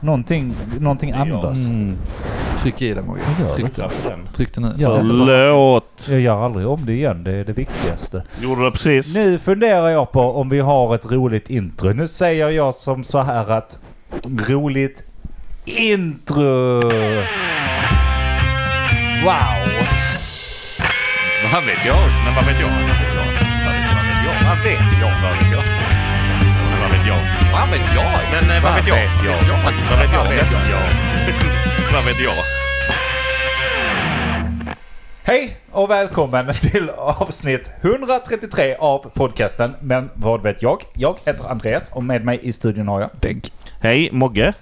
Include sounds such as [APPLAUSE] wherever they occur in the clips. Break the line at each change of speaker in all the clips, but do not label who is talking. Någonting, någonting andas.
Mm. Tryck i den Mogge.
Vad gör
Tryck den.
Kraften.
Tryck den nu.
Ja.
Sätt den bara.
Förlåt!
Jag gör aldrig om det igen, det är det viktigaste.
Gjorde det precis.
Mm. Nu funderar jag på om vi har ett roligt intro. Nu säger jag som så här att roligt intro! Wow!
Vad vet jag? Men vad vet jag? Vad vet jag? Vad vet jag? Vad vet jag?
Men vad vet jag?
Vad vet jag? Men eh, vad vet jag?
Vad vet jag?
Vad vet jag?
Vad vet jag?
Hej och välkommen till avsnitt 133 av podcasten Men vad vet jag? Jag heter Andreas och med mig i studion har jag...
Denk.
Hej Mogge.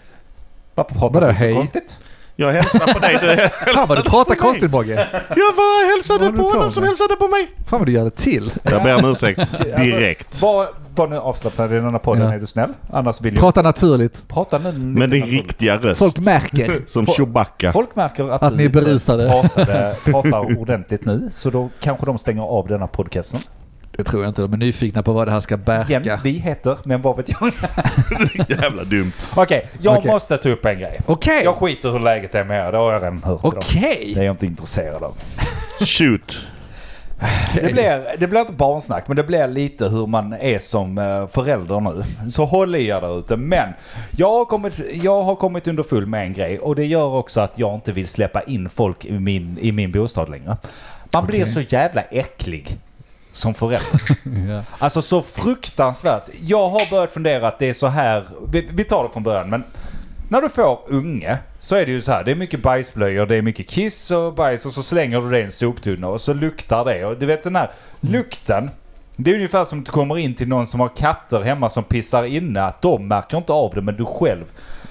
Varför
Vadå,
pratar du så
hej?
konstigt?
Jag hälsar på dig. [LAUGHS] Du-
Fan vad du pratar konstigt Mogge.
Jag bara hälsade
Vad håller
på
du på
honom som
med?
hälsade på mig.
Fan vad du gör det till.
Jag ber om ursäkt direkt.
Alltså, var, var nu avslappnad i den här podden
Ja.
är du snäll. Annars vill jag
Prata naturligt.
prata nu.
Men
lite
din
naturligt.
riktiga röst.
Folk märker.
Som
Folk-
Chewbacca.
Folk märker att,
Att ni är
du inte
berusade. [LAUGHS]
pratade, pratar ordentligt nu. Så då kanske de stänger av den här podcasten.
Det tror jag inte. De är nyfikna på vad det här ska
Igen,
bärka.
vi heter Men vad vet jag? [LAUGHS]
[LAUGHS] Jävla dumt.
Okej, jag
Okej.
måste ta upp en grej.
Okej.
Jag skiter hur läget är med er, det har jag redan hört. idag.
Okej.
Det är jag inte intresserad av.
Shoot.
Det blir, det blir inte barnsnack, men det blir lite hur man är som eh, förälder nu. Så håll i er där ute. Men jag har, kommit, jag har kommit under full med en grej och det gör också att jag inte vill släppa in folk i min, i min bostad längre. Man blir så jävla äcklig som förälder.
Ja.
Alltså så fruktansvärt. Jag har börjat fundera att det är så här, vi, vi tar det från början men när du får unge så är det ju så här, det är mycket bajsblöjor, det är mycket kiss och bajs och så slänger du det i en soptunna och så luktar det. Och du vet den här lukten, det är ungefär som att du kommer in till någon som har katter hemma som pissar inne, att de märker inte av det men du själv.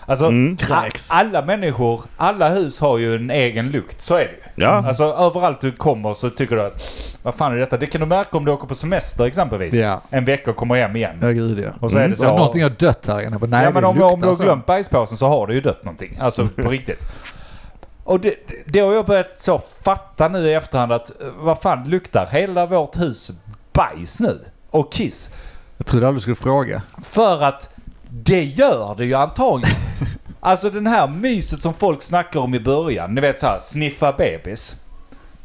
Alltså a-
Kräks.
alla människor, alla hus har ju en egen lukt, så är det ju.
Ja.
Alltså överallt du kommer så tycker du att vad fan är detta? Det kan du märka om du åker på semester exempelvis.
Ja.
liksom. En vecka och kommer hem igen.
Ja, gud ja.
Och så är det så-
Var någonting har dött här inne. Jag bara, Nej,
ja men
det alltså.
om, om du
luktar
har
så.
glömt bajspåsen så har du ju dött någonting. Alltså
[LAUGHS]
på riktigt. Och det, det har jag börjat så fatta nu i efterhand att eh, vad fan luktar hela vårt hus bajs nu? Och kiss.
Jag trodde aldrig du skulle fråga.
För att det gör det ju
[LAUGHS]
antagligen. Alltså den här myset som folk snackar om i början, ni vet så här sniffa bebis.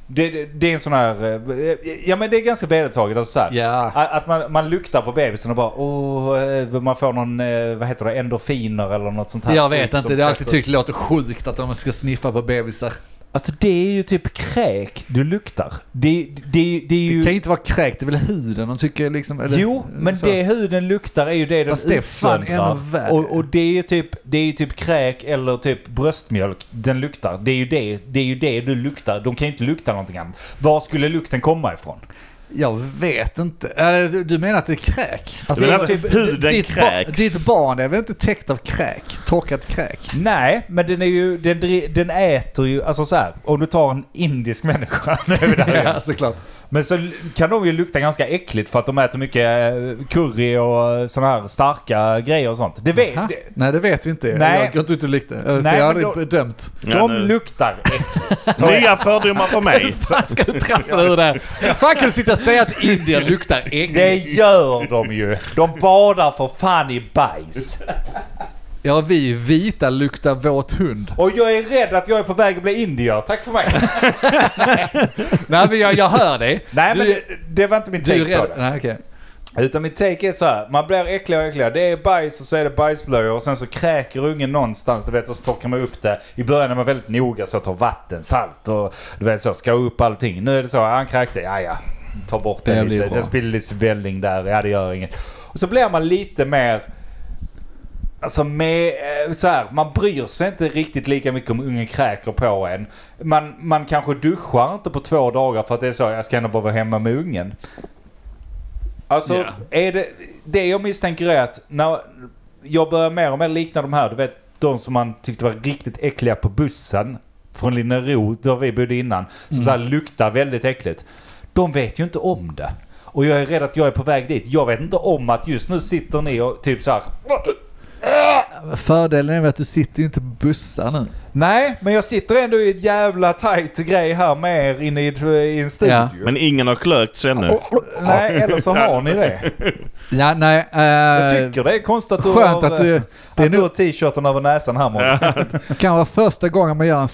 Det, det, det är en sån här, eh, ja men det är ganska vedertaget alltså så här.
Ja.
Att att man, man luktar på bebisen och bara åh, eh, man får någon, eh, vad heter det, endorfiner eller något sånt här.
Jag vet
skit
inte.
som
Det har alltid
sätter-
tyckt det låter sjukt att de ska sniffa på bebisar.
Alltså det är ju typ kräk du luktar. Det, det, det är ju...
Det kan ju inte vara kräkt. Det är väl huden de tycker liksom... Eller,
jo, men
så.
det huden luktar är ju det den
Fast det är fan
utsöndrar.
ännu värre.
Och, och det är ju typ, det är ju typ kräk eller typ bröstmjölk den luktar. Det är ju det, det, är ju det du luktar. De kan ju inte lukta någonting annat. Var skulle lukten komma ifrån?
Jag vet inte. Eller, du- Du menar att det är kräk?
Det är
jag-
typ- huden
ditt,
kräks.
ba- ditt barn är väl inte täckt av kräk? Torkat kräk?
Nej, men den är ju, den, dri- den äter ju, alltså så här, om du tar en indisk människa, [LAUGHS] nu är vi där igen.
[LAUGHS] Ja, såklart.
Men så kan de ju lukta ganska äckligt för att de äter mycket eh, curry och sådana här starka grejer och sånt. Det vet,
Ha?
Eh, det,
Nej, det vet vi inte.
Nej.
Jag går inte ut och luktar. Eller,
Nej,
så jag har
men
aldrig
då- [LAUGHS]
bedömt.
Ja,
de
nu.
luktar äckligt. Så är det.
Nya fördomar
[LAUGHS]
för mig.
Fan ska du trassla dig ur det här? Hur fan kan du sitta och säga att indier luktar
Det
äckligt?
gör de ju. De badar för fan i bajs.
Ja, vi vita luktar våt hund.
Och jag är rädd att jag är på väg att bli indier. Tack för mig.
Nej, men jag, jag hör dig.
[LAUGHS] Nej,
du,
men det, det var inte min
du
take
är
på
rädd.
det.
Nej, okej.
Utan min take är så här. Man blir äckligare och äckligare. Det är bajs och så är det bajsblöjor och sen så kräker ungen någonstans. Du vet, och så torkar man upp det. I början är man väldigt noga så att ta vatten, salt och du vet så. Ska upp allting. Nu är det så. Han kräkte. Ja, ja. Ta bort det,
Det blir
lite.
bra.
Det spiller lite svälling där. Ja, det gör inget. Och så blir man lite mer... Alltså med, eh, så här, man bryr sig inte riktigt lika mycket om ungen kräker på en. Man, man kanske duschar inte på två dagar för att det är så, jag ska ändå bara vara hemma med ungen. Alltså,
Ja.
är det, det jag misstänker är att när jag börjar mer och mer likna de här, du vet de som man tyckte var riktigt äckliga på bussen från Linnero, där vi bodde innan, som
Mm.
så här luktar väldigt äckligt. De vet ju inte om det. Och jag är rädd att jag är på väg dit. Jag vet inte om att just nu sitter ni och typ så här
Fördelen är väl att du sitter ju inte bussar nu.
Nej, men jag sitter ändå i ett jävla tight grej här med er inne i, ett, eh, i en studio.
Ja.
Men ingen har klökts ännu.
Nej, eller så har ni det.
Ja, nej. eh, [LAUGHS]
Jag tycker det är konstigt att du
Skönt
har,
att du...
eh,
Det är
att du har
nog,
t-shirten över näsan här
[LAUGHS]
Mårten.
kan vara första gången man gör en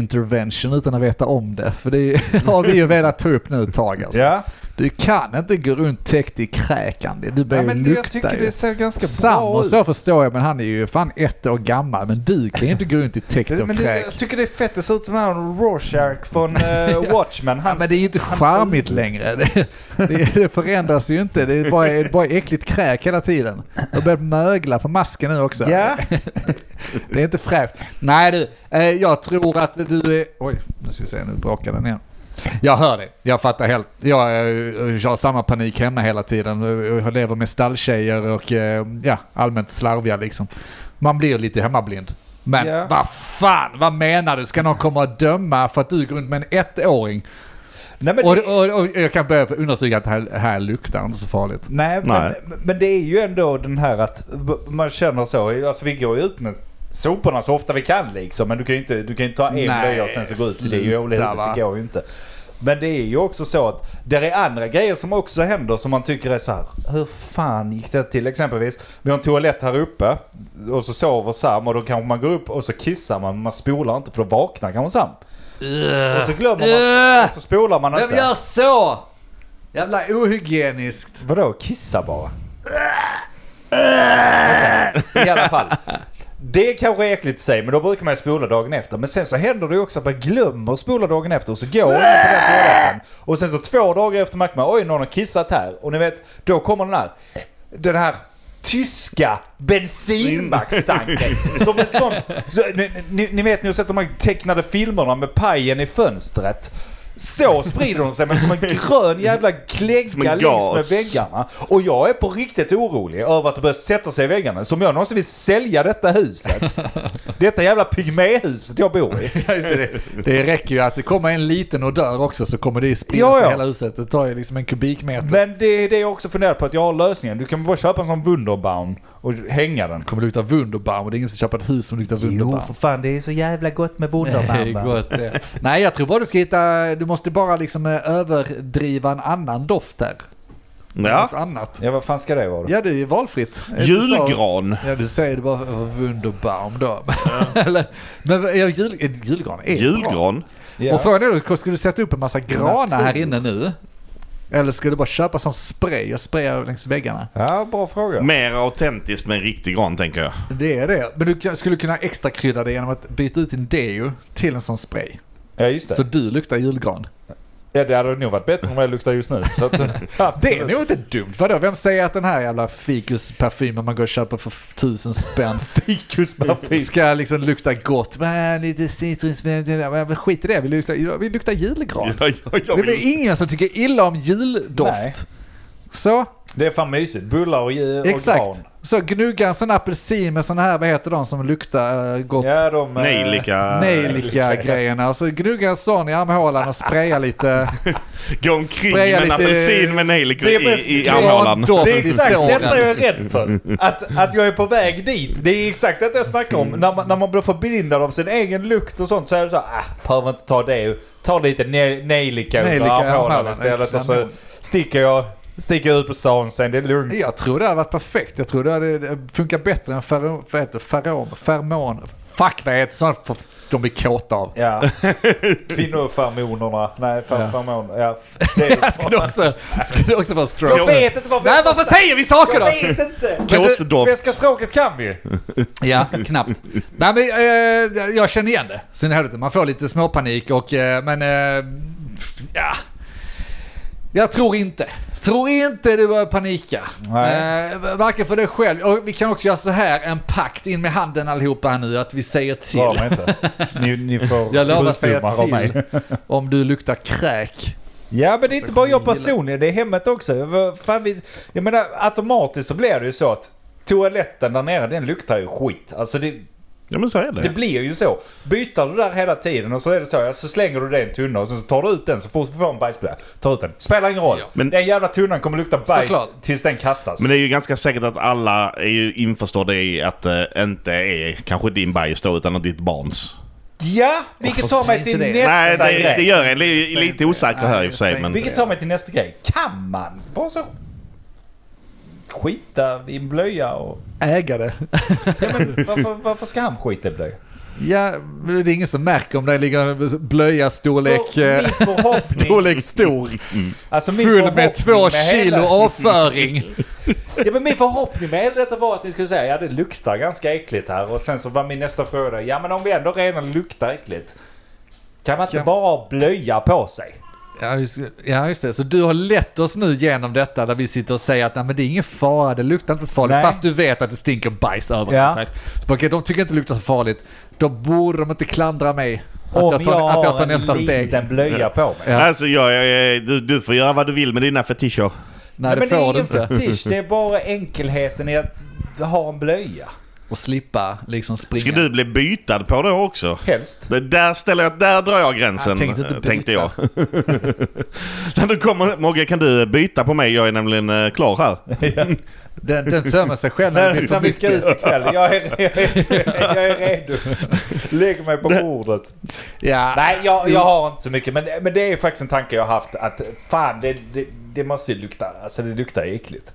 self-intervention utan att veta om det. För det [LAUGHS] är- har vi ju velat ta upp nu ett tag alltså.
Ja.
Du kan inte gå runt täckt i kräkande. Du
ja,
börjar
men
ju
jag
lukta
tycker
ju.
det ser ganska
Sam
bra
och
ut.
så förstår jag, men han är ju fan ett år gammal. Men du kan ju inte gå runt i täckt och
Men det,
kräk.
jag tycker det är fett, det ser ut som han Rorschach från eh, Watchmen.
[LAUGHS] Ja,
Hans,
men det är ju inte
hans-
charmigt längre. [LAUGHS] Det, det, det förändras ju inte. Det är bara, det är bara äckligt kräk hela tiden. Det börjar mögla på masken nu också.
Ja,
Det är inte fräscht. Nej du, eh, jag tror att du är... Oj, nu ska vi se, nu brakar den igen. Jag hör det, jag fattar helt. Jag, eh, jag har samma panik hemma hela tiden. Jag lever med stalltjejer och eh, ja, allmänt slarviga liksom. Man blir lite hemmablind. Men
Ja.
vad fan, vad menar du? Ska någon komma och döma för att du går runt med en ettåring?
nej men,
Och,
det,
och, och jag kan börja understryka att här, här luktar inte så farligt.
nej,
Nej.
Men, men det är ju ändå den här att b- man känner så, alltså vi går ju ut med soporna så ofta vi kan liksom. Men du kan ju inte, du kan ju inte ta en
Nej,
blöja och sen så gå ut. Det är ju
sluta,
olika,
va?
det går ju inte. Men det är ju också så att det är andra grejer som också händer som man tycker är så här. Hur fan gick det till exempelvis? Vi har en toalett här uppe och så sover Sam och då kanske man går upp och så kissar man men man spolar inte för då vaknar kanske Sam. Och så glömmer man och så spolar man inte.
Vem gör så? Jävla ohygieniskt.
Vadå, kissa bara? Okej, I alla [LAUGHS] fall. Det kanske är äckligt i sig, men då brukar man ju spola dagen efter. Men sen så händer det ju också att man glömmer att spola dagen efter och så går man på den toaletten. Och sen så två dagar efter märker man oj, någon har kissat här. Och ni vet, då kommer den här, den här tyska [LAUGHS] bensinmackstanken. Som en sån, så, ni, ni, ni vet, ni har sett de här tecknade filmerna med pajen i fönstret. Så sprider de sig, men som en grön jävla
Som
klägga
en
längs med
gas.
väggarna. Och jag är på riktigt orolig över att det börjar sätta sig i väggarna. Som jag någonsin vill sälja detta huset.
[LAUGHS]
Detta jävla pygméhuset jag bor i.
Ja, just det. Det räcker ju att det kommer en liten och dör också så kommer det ju sprida
Ja,
sig i
ja.
hela huset. Det tar ju liksom en kubikmeter.
Men det är det jag också funderar på, att jag har lösningen. Du kan bara köpa en sån Wunderbaum och hänga den.
Det kommer lukta Wunderbaum och det är ingen som köper ett hus som luktar Wunderbaum.
fan, det är så jävla gott med
[LAUGHS] Nej, gott det. Nej, jag tror bara du ska hitta, du måste bara liksom eh, överdriva en annan doft där.
Ja.
Något annat.
Ja, vad fan ska det vara? då?
Ja, det är ju valfritt. Eh, Du sa-
Julgran.
Ja, du säger det bara eh, Wunderbaum då. [LAUGHS] Eller, men ja, jul, eh, julgran är bra.
Julgran.
Ja.
Och frågan är då, ska du sätta upp en massa granar
Natur.
här inne nu? Eller ska du bara köpa som spray och spraya längs väggarna?
Ja, bra fråga.
Mer autentiskt med en riktig gran tänker jag.
Det är det. Men du kan- skulle kunna extra krydda det genom att byta ut din deo till en sån spray.
Ja, just det.
Så du luktar julgran.
Ja, det hade nog varit bättre än vad jag luktar just nu. Så
[LAUGHS]
att,
Det är
Absolut.
nog inte dumt. Vadå, vem säger att den här jävla fikusparfymen man går och köper för f- tusen [LAUGHS] spänn
fikusparfis.
ska liksom lukta gott? Men lite citrusfärg, men skit i det. Vi luktar, vi luktar julgran.
Ja, ja, [LAUGHS] jag
Det är väl
vill...
ingen som tycker illa om juldoft.
Nej.
Så,
Det är fan mysigt. Bullar och, ju- och
Exakt.
gran.
Så gnugga en sån apelsin med sån här, vad heter de som luktar eh, gott?
Ja, de... eh,
Nejlika.
Nejlika-grejerna. Alltså gnugga en sån i armhålan och
[LAUGHS]
spraya lite
Gå omkring
Spraya
med en
lite-
apelsin med nejlika
Det är
i,
precis-
i armhålan.
grandoft
Det är
i
exakt
såren.
detta jag är rädd för. Att, att jag är på väg dit. Det är exakt detta jag snackar om. När man, när man blir förblindad av sin egen lukt och sånt så är det så här, ah, behöver inte ta det. Ta lite ne- nejlika under
Nejlika i
armhålan
armhålan,
istället och så
exakt.
sticker jag, sticker jag ut på stan sen. Det är lugnt.
Jag tror det hade varit perfekt. Jag tror det hade det funkat bättre än fero- vad heter det? ferom, fermon. Fuck vad heter sånt för- de blir kåta av.
Ja.
[LAUGHS]
Kvinnoförmånerna. Nej, för,
Ja.
förmåner. Ja. Det
[LAUGHS]
är
Ska det också, ska det också vara stroke?
jag vet inte varför
Nej, varför säger vi
jag
saker då?
vet inte!
Men du-
Kåtdoft.
Svenska språket kan vi ju.
Ja, knappt. Nej, men, eh, jag känner igen det. Sen är det, man får lite småpanik och eh, men eh, ja. Jag tror inte. Tror inte du börjar panika.
Nej.
Eh, varken för dig själv. Och vi kan också göra så här, en pakt in med handen allihopa här nu att vi säger
Dra
till.
mig inte. Ni, ni får
Jag lovar att säga
sjukdomar av mig.
till [LAUGHS] om du luktar kräk.
Ja men det är inte
Så
bara
kommer
jag
vi gilla-
personligen, det är hemmet också. Vad Fan, vi, jag menar automatiskt så blir det ju så att toaletten där nere den luktar ju skit. Alltså det,
Ja men så är
Det
det.
blir ju så. Byter du där hela tiden och så är det så, ja, så slänger du den i en tunna och sen så tar du ut den så fort du får en bajsblöja. Tar ut den. Spelar ingen roll.
Ja.
Men, den jävla tunnan kommer lukta bajs
Såklart.
tills den kastas.
Men det är ju ganska säkert att alla är ju införstådda i att det inte är kanske din bajs då utan ditt barns.
Ja, vilket tar mig till
inte det?
nästa
Nej, det,
grej.
det gör en li, lite osäker här i och för sig. Men
Vilket tar mig till nästa grej. Kan man bara så skita i en blöja och...
Äga det.
Ja, men varför, varför ska han skita i blöja?
Ja, men det är ingen som märker om det ligger en blöja storlek,
Då-
eh,
min förhoppning-
storlek stor.
Alltså, min
Full med
förhoppning
två
hela-
kilo avföring.
Ja, men min förhoppning med detta var att ni skulle säga ja det luktar ganska äckligt här och sen så var min nästa fråga ja men om vi ändå redan luktar äckligt kan man inte
Kan-
bara ha blöja på sig?
[LAUGHS] Ja just, ja, just det. Så du har lett oss nu genom detta där vi sitter och säger att Nej, men det är ingen fara, det luktar inte så farligt.
Nej.
Fast du vet att det stinker bajs överallt.
Ja.
Så, okej, de tycker inte det luktar så farligt. Då borde de inte klandra mig att,
Om
jag tar, att jag tar nästa
en
steg.
liten blöja på mig.
Ja.
Alltså jag, jag, jag, du, du får göra vad du vill med dina fetischer.
Nej, det
men
får
det
du
är
inte.
fetisch, det är bara enkelheten i att ha en blöja.
Och slippa liksom springa.
Ska du bli bytad på då också?
Helst.
Det där ställer jag, där drar jag gränsen. eh,
Jag tänkte inte byta.
Tänkte jag. [LAUGHS] När du kommer, Mogge kan du byta på mig? Jag är nämligen eh, klar här.
Den, den tömmer sig själv när
[LAUGHS]
det blir
När,
för
när vi ska ut
mycket.
ikväll. Jag är, jag är, jag är redo. Lägg mig på bordet.
Ja.
Nej, jag, jag har inte så mycket. Men, men det är faktiskt en tanke jag har haft. Att fan, det, det, det måste ju lukta. Alltså det luktar ju äckligt.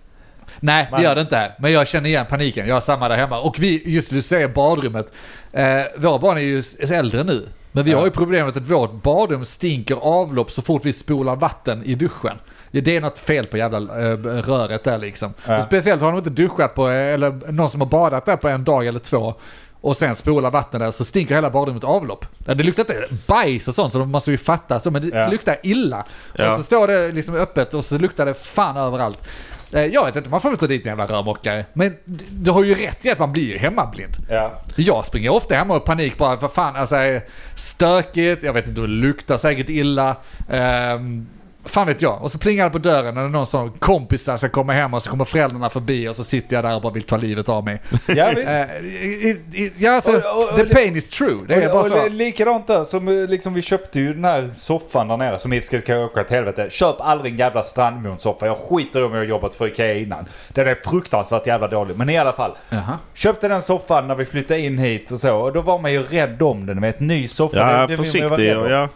Nej, det
Man-
gör det inte. Men jag känner igen paniken. Jag har samma där hemma. Och vi, just du säger badrummet. Eh, våra barn är ju s- äldre nu. Men vi har ju problemet att vårt badrum stinker avlopp så fort vi spolar vatten i duschen. Ja, Det är något fel på jävla eh, röret där liksom.
Ja.
Och speciellt har de inte duschat på, eh, eller någon som har badat där på en dag eller två. Och sen spolar vatten där så stinker hela badrummet avlopp. Ja, Det luktar inte bajs och sånt så de måste ju fatta så. Men det
Ja.
luktar illa.
Ja.
Och så står det liksom öppet och så luktar det fan överallt. Eh, Jag vet inte, man får väl ta dit en jävla rörmokare. Men d- du har ju rätt i att man blir ju hemmablind.
Ja.
Jag springer ofta hemma i panik bara, vad fan, alltså stökigt, jag vet inte, det luktar säkert illa. Ehm, fan vet jag. Och så plingar det på dörren när det är någon sån kompisar ska komma hem och så kommer föräldrarna förbi och så sitter jag där och bara vill ta livet av mig.
[LAUGHS] Ja, visst.
Eh, i- i- i- ja, alltså,
Och- och- och
the
det-
pain is true. Det
Och,
är
det-
bara
och det
så.
är likadant där som eh, liksom, vi köpte ju den här soffan där nere som i och för sig ska åka till helvete. Köp aldrig en jävla Strandmon-soffa. Jag skiter i om jag har jobbat för Ikea innan. Den är fruktansvärt jävla dålig. Men i alla fall.
Jaha.
Köpte den soffan när vi flyttade in hit och så. Och då var man ju rädd om den. Med ett ny soffa.
Ja,
det, det vill man ju vara
försiktig.
rädd om.
och- Ja.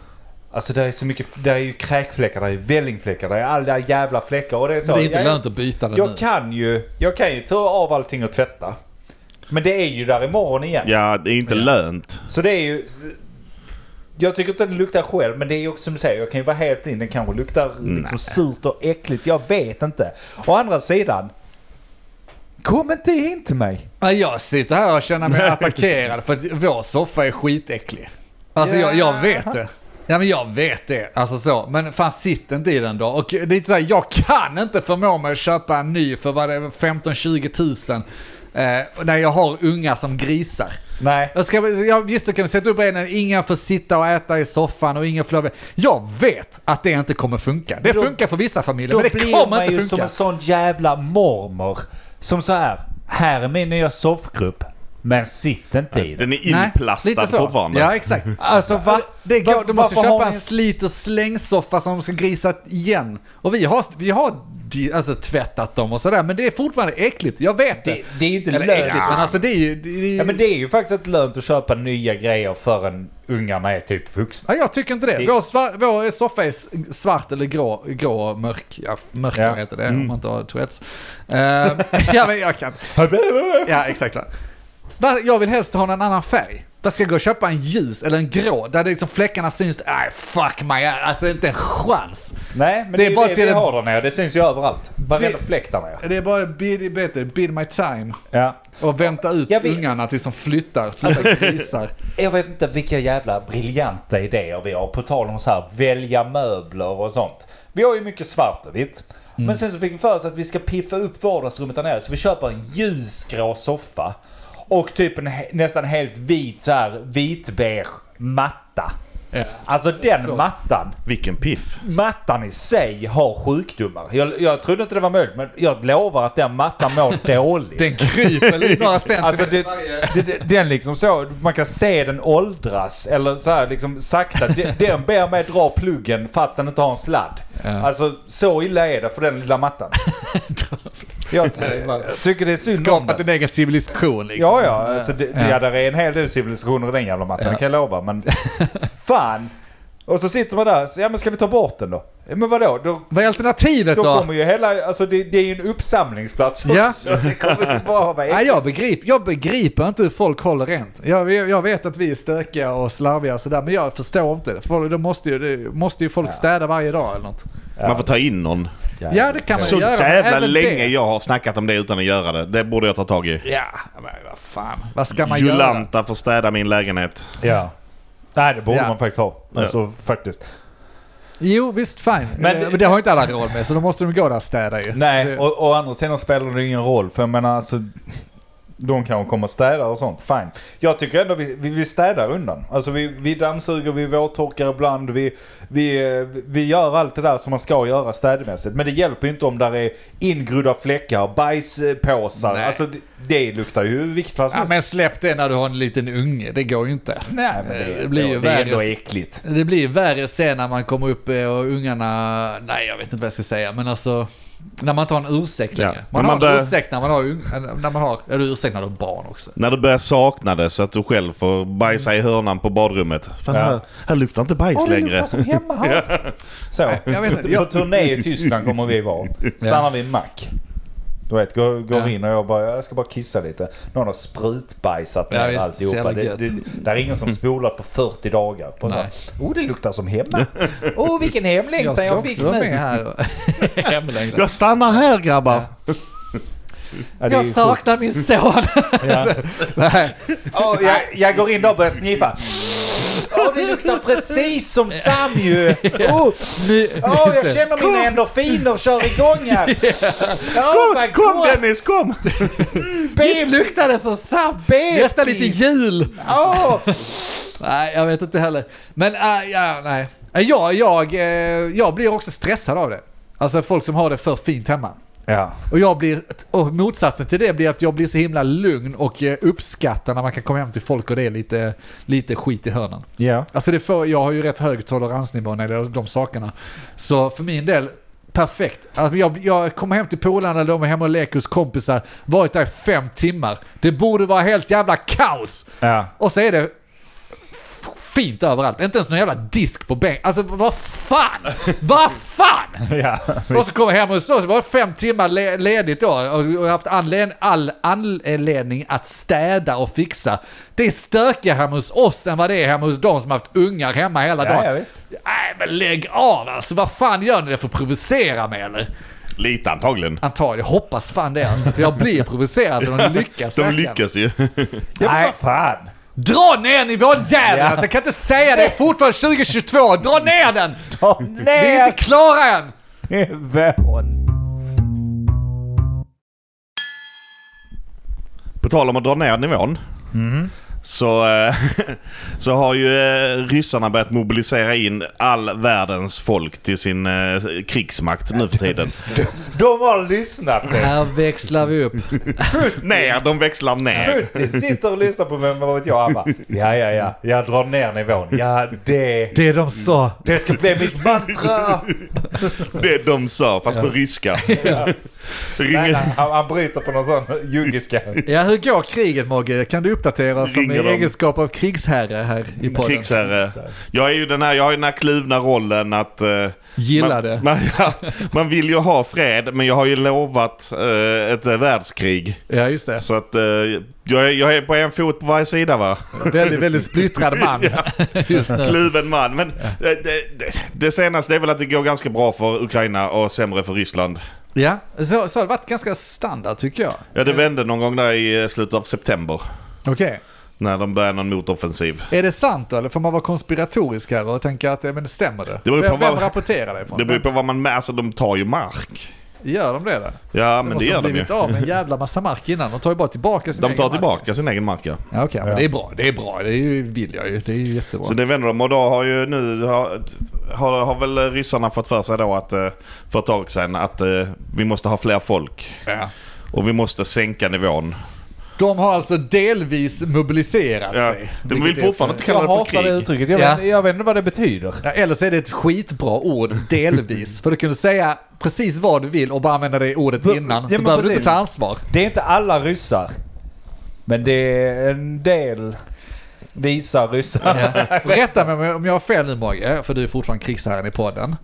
Alltså det är så mycket, det är ju kräkfläckar, det är vällingfläckar, det är alla jävla fläckar och det är så.
Det är inte
jag,
lönt att byta den nu.
jag kan ju, jag kan ju ta av allting och tvätta. Men det är ju där imorgon igen.
ja, det är inte
Ja.
lönt.
Så det är ju... Jag tycker inte den luktar själv, men det är ju också som du säger, jag kan ju vara helt blind. Den kanske luktar liksom surt och äckligt, jag vet inte. Å andra sidan, kom inte in till mig.
Ja, jag sitter här och känner mig attackerad för att vår soffa är skitäcklig. Alltså jag, jag vet det. Ja men jag vet det, alltså så. Men fan sitt inte i den då. Och det är inte så här, jag kan inte förmå mig att köpa en ny för vad det är, 15-20 tusen. Eh, när jag har unga som grisar.
Nej.
Jag ska, ja, visst, du kan vi sätta upp benen, ingen får sitta och äta i soffan och ingen får lov- Jag vet att det inte kommer funka. Det
Då-
funkar för vissa familjer,
Då
men det
blir
kommer
man ju
inte
som
funka.
en sån jävla mormor. Som så här, här är min nya soffgrupp, men sitt inte i den.
Den är
Nej,
inplastad
lite så.
fortfarande.
Ja, exakt.
Alltså va?
Det
va-
går, de måste
varför har
köpa
ni
en slit och slängsoffa som de ska grisa igen. Och vi har, vi har di- alltså, tvättat dem och sådär, men det är fortfarande äckligt. Jag vet det.
Det, det är ju inte
Eller
lönt.
äckligt, men alltså det är ju... Det, det,
Ja men det är ju faktiskt inte lönt att köpa nya grejer förrän ungarna är typ vuxna.
Ja, jag tycker inte det.
Det-
Vår, svar, vår soffa är s- svart eller grå, grå och mörk. Ja, mörk
Ja. Mm.
heter det om man inte har Tourettes. Eh, [LAUGHS] ja, men jag kan. Ja, exakt. va. Va, Jag vill helst ha en annan färg. Där ska jag gå och köpa en ljus eller en grå, där det liksom fläckarna syns. Nej, fuck my ass. Alltså, inte en chans.
Nej men det, är bara det till vi har där nere. Det syns ju överallt. Varenda fläkt där nere.
Det är bara bid, bättre, bid my time.
Ja.
Och vänta ut
Jag vet-
ungarna tills de flyttar, slutar grisar.
Jag vet inte vilka jävla briljanta idéer vi har. På tal om så här välja möbler och sånt. Vi har ju mycket svart och vitt. Men sen så fick vi för oss att vi ska piffa upp vardagsrummet där nere. Så vi köper en ljusgrå soffa. Och typ en he- nästan helt vit så här vitbeige matta. Alltså den
Så.
mattan,
Vilken piff.
mattan i sig har sjukdomar. Jag, jag trodde inte det var möjligt men jag lovar att den mattan mår
[LAUGHS]
dåligt.
Den kryper lite några centimeter
Alltså det,
varje...
det, det, den liksom så, man kan se den åldras eller så här liksom sakta. De- Den ber mig dra pluggen fast den inte har en sladd. Alltså så illa är det för den lilla
[LAUGHS]
mattan. Jag, ty- jag tycker det är synd om
Skapat
den.
en egen civilisation liksom.
Ja, ja. Alltså, det, det,
Ja.
ja, där är en hel del civilisationer i den jävla mattan,
Ja.
det kan jag lova.
[LAUGHS]
Men fan! Och så sitter man där, så, ja men ska vi ta bort den då? Ja, Men vadå? Då,
Vad är alternativet
då
då?
kommer ju hela, alltså det, det är ju en uppsamlingsplats
Ja.
också. Det kommer ju bara vara
Nej, jag, begriper, jag begriper inte hur folk håller rent. Jag, jag vet att vi är stökiga och slarviga och sådär, men jag förstår inte. det. Folk, då måste ju, det måste ju folk städa varje dag eller något.
Man får ta in någon.
Ja, det kan man
Så
ju göra. men
jävla
även
länge
det-
jag har snackat om det utan att göra det. Det borde jag ta tag i.
Ja, men vad fan. Vad ska man göra?
Jolanta får städa min lägenhet.
Ja. Nej, det borde
Ja.
man faktiskt ha. Alltså, faktiskt.
Jo, visst fine.
Men-
Men, men det har ju inte alla råd med, så då måste de gå där och städa ju.
Nej,
Det-
och, och å andra sidan spelar det ingen roll. För jag menar, alltså, de kan komma och städa och sånt. Fine. Jag tycker ändå vi, vi, vi städar undan. Alltså vi, vi dammsuger, vi våttorkar ibland. Vi, vi, eh, vi gör allt det där som man ska göra städmässigt. Men det hjälper ju inte om där är ingrodda fläckar, bajspåsar.
Nej.
Alltså det, det luktar ju i vilket fall som
Ja,
helst.
men släpp det när du har en liten unge, det går ju inte.
Nej, men
Eh,
det,
det blir ju
det är ändå
värre.
äckligt.
Det blir ju värre sen när man kommer upp eh, och ungarna... Nej, jag vet inte vad jag ska säga, men alltså... När man inte har en ursäkt
Ja,
längre.
men
Man har
man
en
dö-
ursäkt när man har... ung- eh, När man har eller ursäkt när du har barn också.
När du börjar sakna det så att du själv får bajsa i hörnan på badrummet. Fan,
Ja.
här, här luktar inte bajs
Åh, det
längre.
luktar som hemma här. Så.
Jag vet inte,
På
jag,
turné i Tyskland kommer vi vara. Stannar vi i en mack. Du vet, går, går
Ja.
in och jag bara, jag ska bara kissa lite. Någon har sprutbajsat
Ja,
ner
visst, så
alltihopa.
jävla
Det,
gött. Mm.
det, det är ingen som spolat på 40 dagar. På
Nej.
oh, det luktar som
[LAUGHS]
hemma. Oh, vilken
jag
hemlängtan
ska
jag, fick
också
nu.
vara med
[LAUGHS]
här. och- Hemlängtan.
Jag stannar här grabbar.
Ja, det är
Jag
ju sjukt.
saknar min son.
Ja.
[LAUGHS] Nej, [LAUGHS]
Åh, jag, jag går in där och börjar sniffa. Åh, det luktar precis som Sam ju.
[LAUGHS]
Oh,
nu,
åh, jag känner mina endorfiner kör igång
[LAUGHS]
här. Åh, vad
Kom
gott.
Dennis, kom!
Visst luktar det som Sam?
Bebis.
Nästan lite jul.
Åh,
Nej, jag vet inte heller. Men äh, ja, nej. Äh, Jag, jag, eh, jag blir också stressad av det. Alltså folk som har det för fint hemma.
Ja.
Och, jag blir, och motsatsen till det blir att jag blir så himla lugn och eh, uppskattar när man kan komma hem till folk och det är lite, lite skit i hörnen.
Ja.
Alltså det får, jag har ju rätt hög toleransnivå när det gäller de sakerna. Så för min del, perfekt. Alltså jag, jag kommer hem till polarna, de är hemma och leker hos kompisar, varit där i fem timmar. Det borde vara helt jävla kaos!
Ja.
Och så är det f- fint överallt. Inte ens någon jävla disk på bänken. Alltså vad fan! Vad fan! [LAUGHS]
Ja.
Och så kommer jag hem och så, så var det fem timmar le- ledigt då och jag har haft anled all anledning att städa och fixa. Det är stökigare hemma hos oss än vad det är hemma hos de som har haft ungar hemma hela
Ja,
dagen.
ja, visst.
Nej men lägg av alltså, vad fan gör ni det för att provocera mig eller?
Lite antagligen.
Antagligen, jag hoppas fan det alltså, för jag blir provocerad så de lyckas
De
verkligen.
lyckas ju.
Ja, men vad fan.
Dra ner nivån jävel!
Ja.
Alltså, jag kan inte säga det, det är fortfarande 2022, dra ner den!
Ta
Vi är inte klara än!
nivån.
På tal om att dra ner nivån.
Mm.
Så, eh, [LAUGHS] så har ju eh, ryssarna börjat mobilisera in all världens folk till sin eh, krigsmakt nu för tiden.
De har lyssnat.
Här växlar vi upp.
Ner, de växlar ner.
Putin sitter och lyssnar på vem vad vet jag. Han bara, ja, ja, ja. Jag drar ner nivån. Ja, det...
Det de sa.
Det ska bli mitt mantra!
Det de sa, fast på
[LAUGHS]
ryska.
Nej, nej,
Ringer,
han, han bryter på någon sån jungiska.
Ja, hur går kriget Mogge? Kan du uppdatera oss som
Ringer
i
de?
egenskap av krigsherre här i podden?
krigsherre. Jag, är ju den här, jag har ju den här kluvna rollen att... eh,
Gillar
man,
det.
[LAUGHS] Man, ja, man vill ju ha fred, men jag har ju lovat eh, ett eh, världskrig.
Ja, just det.
Så att eh, jag, är- jag är på en fot på varje sida va?
Väldigt, väldigt splittrad
[LAUGHS]
man just nu.
Kluven man. Men eh, det, det, det senaste är väl att det går ganska bra för Ukraina och sämre för Ryssland.
Ja, så, så har det varit ganska standard tycker jag.
Ja, det vände någon gång där i eh, slutet av september.
Okej.
När de började någon motoffensiv.
Är det sant då, eller får man vara konspiratorisk här och tänka att ja, men det stämmer det?
Det beror på
vem, vem
vad-
rapporterar det ifrån?
Det beror på vad man med. Alltså de tar ju mark.
Gör de det då?
Ja,
De
men det
måste
gör
ha
de ju.
blivit av med en jävla massa mark innan. De tar ju bara tillbaka sin
De
egen
tar
mark.
tillbaka sin egen mark, ja.
Ja, okej,
Ja.
men det är bra. Det är bra. Det är ju, vill jag ju. Det är ju jättebra.
Så det vänder de och då har ju nu har, har, har väl ryssarna fått för sig då att eh, för ett tag sedan att eh, vi måste ha fler folk
Ja.
och vi måste sänka nivån.
De har alltså delvis mobiliserat
Ja,
sig.
de
vilket
vill
är också-
fortfarande inte
Jag
kalla det för
hatar det
krig.
uttrycket. Jag,
Ja.
vet, jag vet inte vad det betyder.
Ja, eller så är det ett skitbra ord,
[LAUGHS]
delvis. För du kan du säga precis vad du vill och bara använda det ordet
Ja,
innan.
men
Så behöver du inte
precis.
ta
[LAUGHS]
ansvar.
Det är inte alla ryssar. Men det är en del visa ryssar.
Ja. Rätta mig om jag- om jag har fel nu Mogge, för du är fortfarande krigsherren i podden.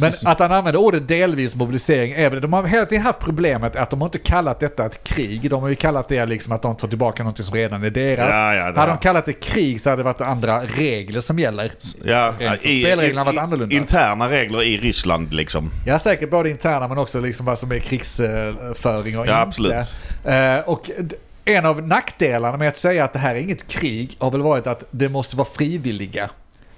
Men att han använder ordet delvis mobilisering, även de har hela tiden haft problemet att de har inte kallat detta ett krig. De har ju kallat det liksom att de tar tillbaka någonting som redan är deras.
Ja, ja, det
hade de
har-
kallat det krig så hade det varit andra regler som gäller.
Ja,
Rent så spelreglerna har varit annorlunda.
Interna regler i Ryssland liksom.
Jag är säkert både interna men också liksom vad som är krigsföring och
Ja,
inte.
absolut.
Eh, Och d- en av nackdelarna med att säga att det här är inget krig har väl varit att det måste vara frivilliga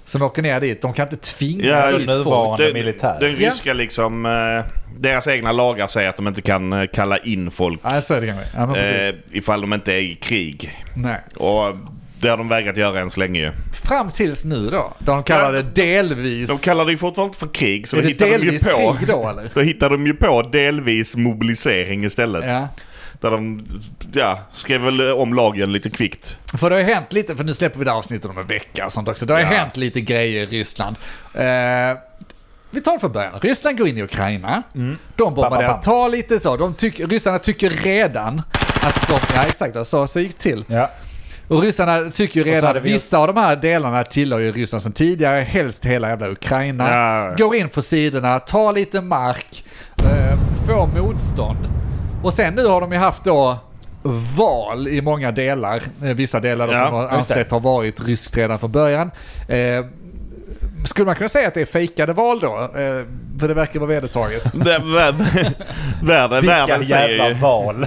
som åker ner dit. De kan inte tvinga
Ja,
dit
nu
folk.
var- Vanlig
Den,
militär.
den
Ja.
ryska liksom, eh, deras egna lagar säger att de inte kan eh, kalla in folk
Nej, så är det kanske. Ja, men precis.
eh, ifall de inte är i krig.
Nej.
Och eh, det har de vägrat göra än så länge ju.
Fram tills nu då, då de kallar det delvis...
De kallar det ju fortfarande inte för krig så
är
då
det
hittar de ju
delvis
på.
krig då
[LAUGHS]
eller?
Då hittar de ju på delvis mobilisering istället.
Ja.
Där de ja, skrev väl eh, om lagen lite kvickt.
För det har ju hänt lite, för nu släpper vi det här avsnittet om en vecka och sånt också. Det har ju
Ja.
hänt lite grejer i Ryssland. Eh, vi tar det från början. Ryssland går in i Ukraina. De
Mm. Bam, bam,
bombarderar,
bam.
tar lite så. De tyck, ryssarna tycker redan att de... Ja exakt, det så, så gick det till.
Ja.
Och ryssarna tycker ju
så
redan
hade
att
vi-
vissa av de här delarna tillhör ju Ryssland sedan tidigare, helst hela jävla Ukraina.
Ja.
Går in på sidorna, tar lite mark, eh, får motstånd. Och sen nu har de ju haft då val i många delar, eh, vissa delar då
Ja,
som har
just det.
ansett har varit ryskt redan från början. Eh, skulle man kunna säga att det är fejkade val då? Eh, för det verkar vara vedertaget. [LAUGHS]
Vär- vär- Världen,
Vilka
världen säger
jävla
ju,
val.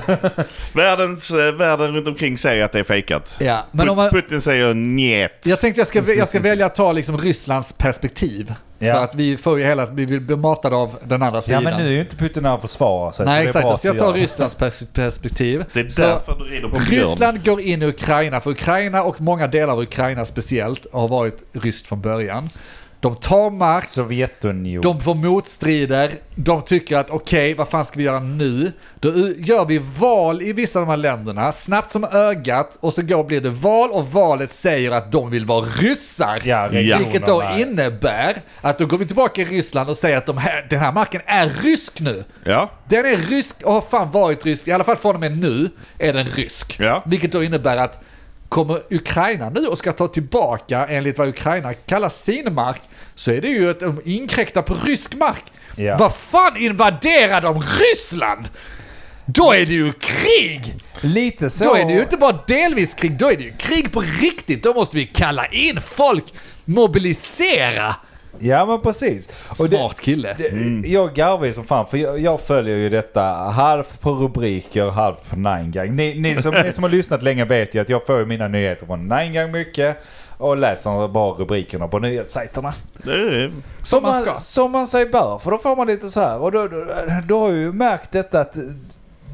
världens, eh, världen runt omkring säger att det är fejkat.
Ja, men
Put-
om man,
Putin säger njet.
Jag tänkte jag ska, jag ska välja att ta liksom Rysslands perspektiv.
Ja.
För att vi får ju hela, vi blir bematade av den andra
Ja
sidan.
men nu är ju inte Putin här och försvarar sig.
Nej
så det är bra
exakt, så
att
jag
vi
tar
gör det.
Rysslands pers- perspektiv.
det är
Så
därför du rider på björn.
Ryssland går in i Ukraina, för Ukraina och många delar av Ukraina speciellt har varit ryskt från början. De tar mark,
Sovjetunionen.
de får motstrider, de tycker att okej, vad fan ska vi göra nu? Då u- gör vi val i vissa av de här länderna, snabbt som ögat, och så går, blir det val och valet säger att de vill vara ryssar.
ja,
Ja.
Vilket då
regionerna.
innebär att då går vi tillbaka i Ryssland och säger att de här, den här marken är rysk nu.
Ja,
Den är rysk och har fan varit rysk, i alla fall från och med nu är den rysk.
Ja.
Vilket då innebär att kommer Ukraina nu och ska ta tillbaka, enligt vad Ukraina kallar sin mark, så är det ju att de inkräktar på rysk mark.
Ja.
Vad fan invaderar de Ryssland? Då är det ju krig!
Lite så.
Då är det ju inte bara delvis krig, då är det ju krig på riktigt. Då måste vi kalla in folk, mobilisera.
Ja men precis. Och det-
Smart kille.
Det- Jag garvar ju som fan för jag, jag följer ju detta halvt på rubriker, halvt på Nine Gang. Ni, ni, som, ni som har lyssnat länge vet ju att jag får ju mina nyheter från Nine Gang mycket och läser bara rubrikerna på nyhetssajterna.
det är,
Som
man
man,
ska.
som man sig bör, för då får man lite så här. Och då, då, då har jag ju märkt detta att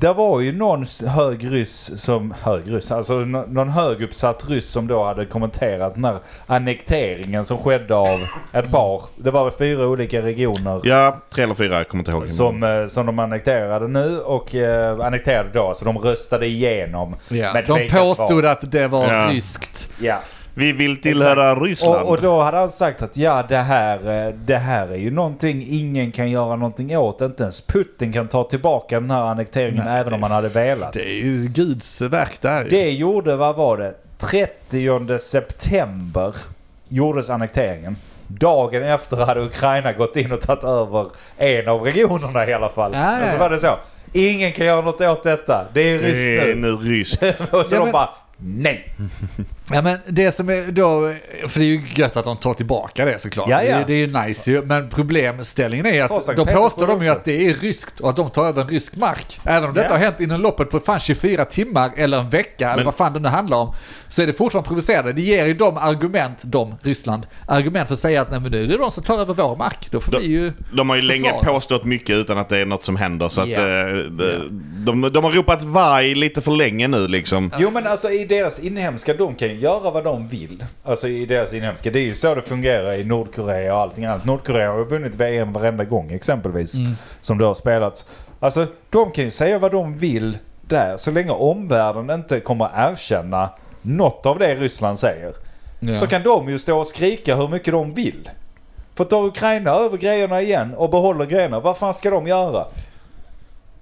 det var ju någon hög ryss som, hög ryss, alltså nå- någon höguppsatt ryss som då hade kommenterat den här annekteringen som skedde av ett par, det var väl fyra olika regioner
ja, tre eller fyra, jag kommer inte ihåg.
som, eh, som de annekterade nu och eh, annekterade då, så de röstade igenom.
Ja,
med
de
tvekat
påstod
val.
att det var
Ja.
ryskt.
Ja.
Vi vill tillhöra Ryssland.
Och, och då hade han sagt att ja, det här, eh, det här är ju någonting ingen kan göra någonting åt. Inte ens Putin kan ta tillbaka den här annekteringen
Nej.
även om han hade velat.
Det
Det,
är ju Guds verk där ju.
gjorde, vad var det? 30 september gjordes annekteringen. Dagen efter hade Ukraina gått in och tagit över en av regionerna i alla fall.
Ja, ja,
Och så
ja.
var det så. Ingen [LAUGHS] kan göra något åt detta. Det är ryskt
Det är
nu.
nu ryskt.
Och så
Ja,
de
men-
bara nej.
Ja men det som är då, för det är ju gött att de tar tillbaka det såklart.
Ja, ja.
Det, det är ju nice ju, men problemställningen är
Ta
att
Sankt
då påstår
Petersburg
de ju
också.
att det är ryskt och att de tar över en rysk mark. Även om detta
Ja.
har hänt inom loppet på fan 24 timmar eller en vecka eller
Men-
vad fan det nu handlar om. Så är det fortfarande provocerande. Det ger ju dem argument, de, Ryssland, argument för att säga att nej men nu är det de som tar över vår mark. Då får
De-
vi ju...
De har ju länge
Försvaras.
påstått mycket utan att det är något som händer. Så att,
Ja.
eh, de,
Ja.
de, de har ropat varg lite för länge nu liksom.
Jo men alltså i deras inhemska, de kan ju göra vad de vill. Alltså i deras inhemska. Det är ju så det fungerar i Nordkorea och allting annat. Nordkorea har ju vunnit VM varenda gång exempelvis.
Mm.
Som det har spelats. Alltså de kan ju säga vad de vill där. Så länge omvärlden inte kommer erkänna något av det Ryssland säger.
Ja.
Så kan de ju stå och skrika hur mycket de vill. För tar Ukraina över grejerna igen och behåller grejerna, vad fan ska de göra?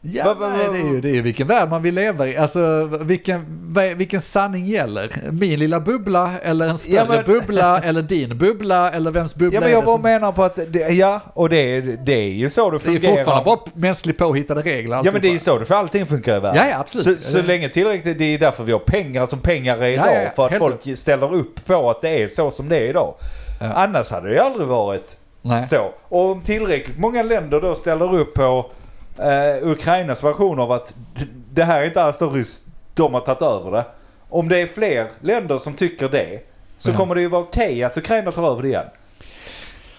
Ja,
Va- va- va-
nej, det, är ju, det är ju vilken värld man vill leva i. Alltså, vilken, va- vilken sanning gäller? Min lilla bubbla eller en större
Ja, men-
bubbla eller din bubbla eller vems bubbla
Ja men
är
jag
det
bara
som...
menar på att, det, ja, och det, är- det är ju så det
Det är
fungerar.
fortfarande bara mänskligt påhittade regler.
Ja men det är ju
alltihopa.
så, för allting funkar i världen.
Ja, ja, absolut.
Så, så
Ja, det-
länge tillräckligt, det är därför vi har pengar som pengar är idag.
Ja, ja, ja.
För att
Helt
folk ställer upp på att det är så som det är idag.
Ja.
Annars hade det ju aldrig varit
Nej.
så. Och om tillräckligt många länder då ställer upp på eh, Ukrainas version av att d- det här är inte alls då ryskt, de har tagit över det. Om det är fler länder som tycker det så
Ja.
kommer det ju vara okej att Ukraina tar över det igen.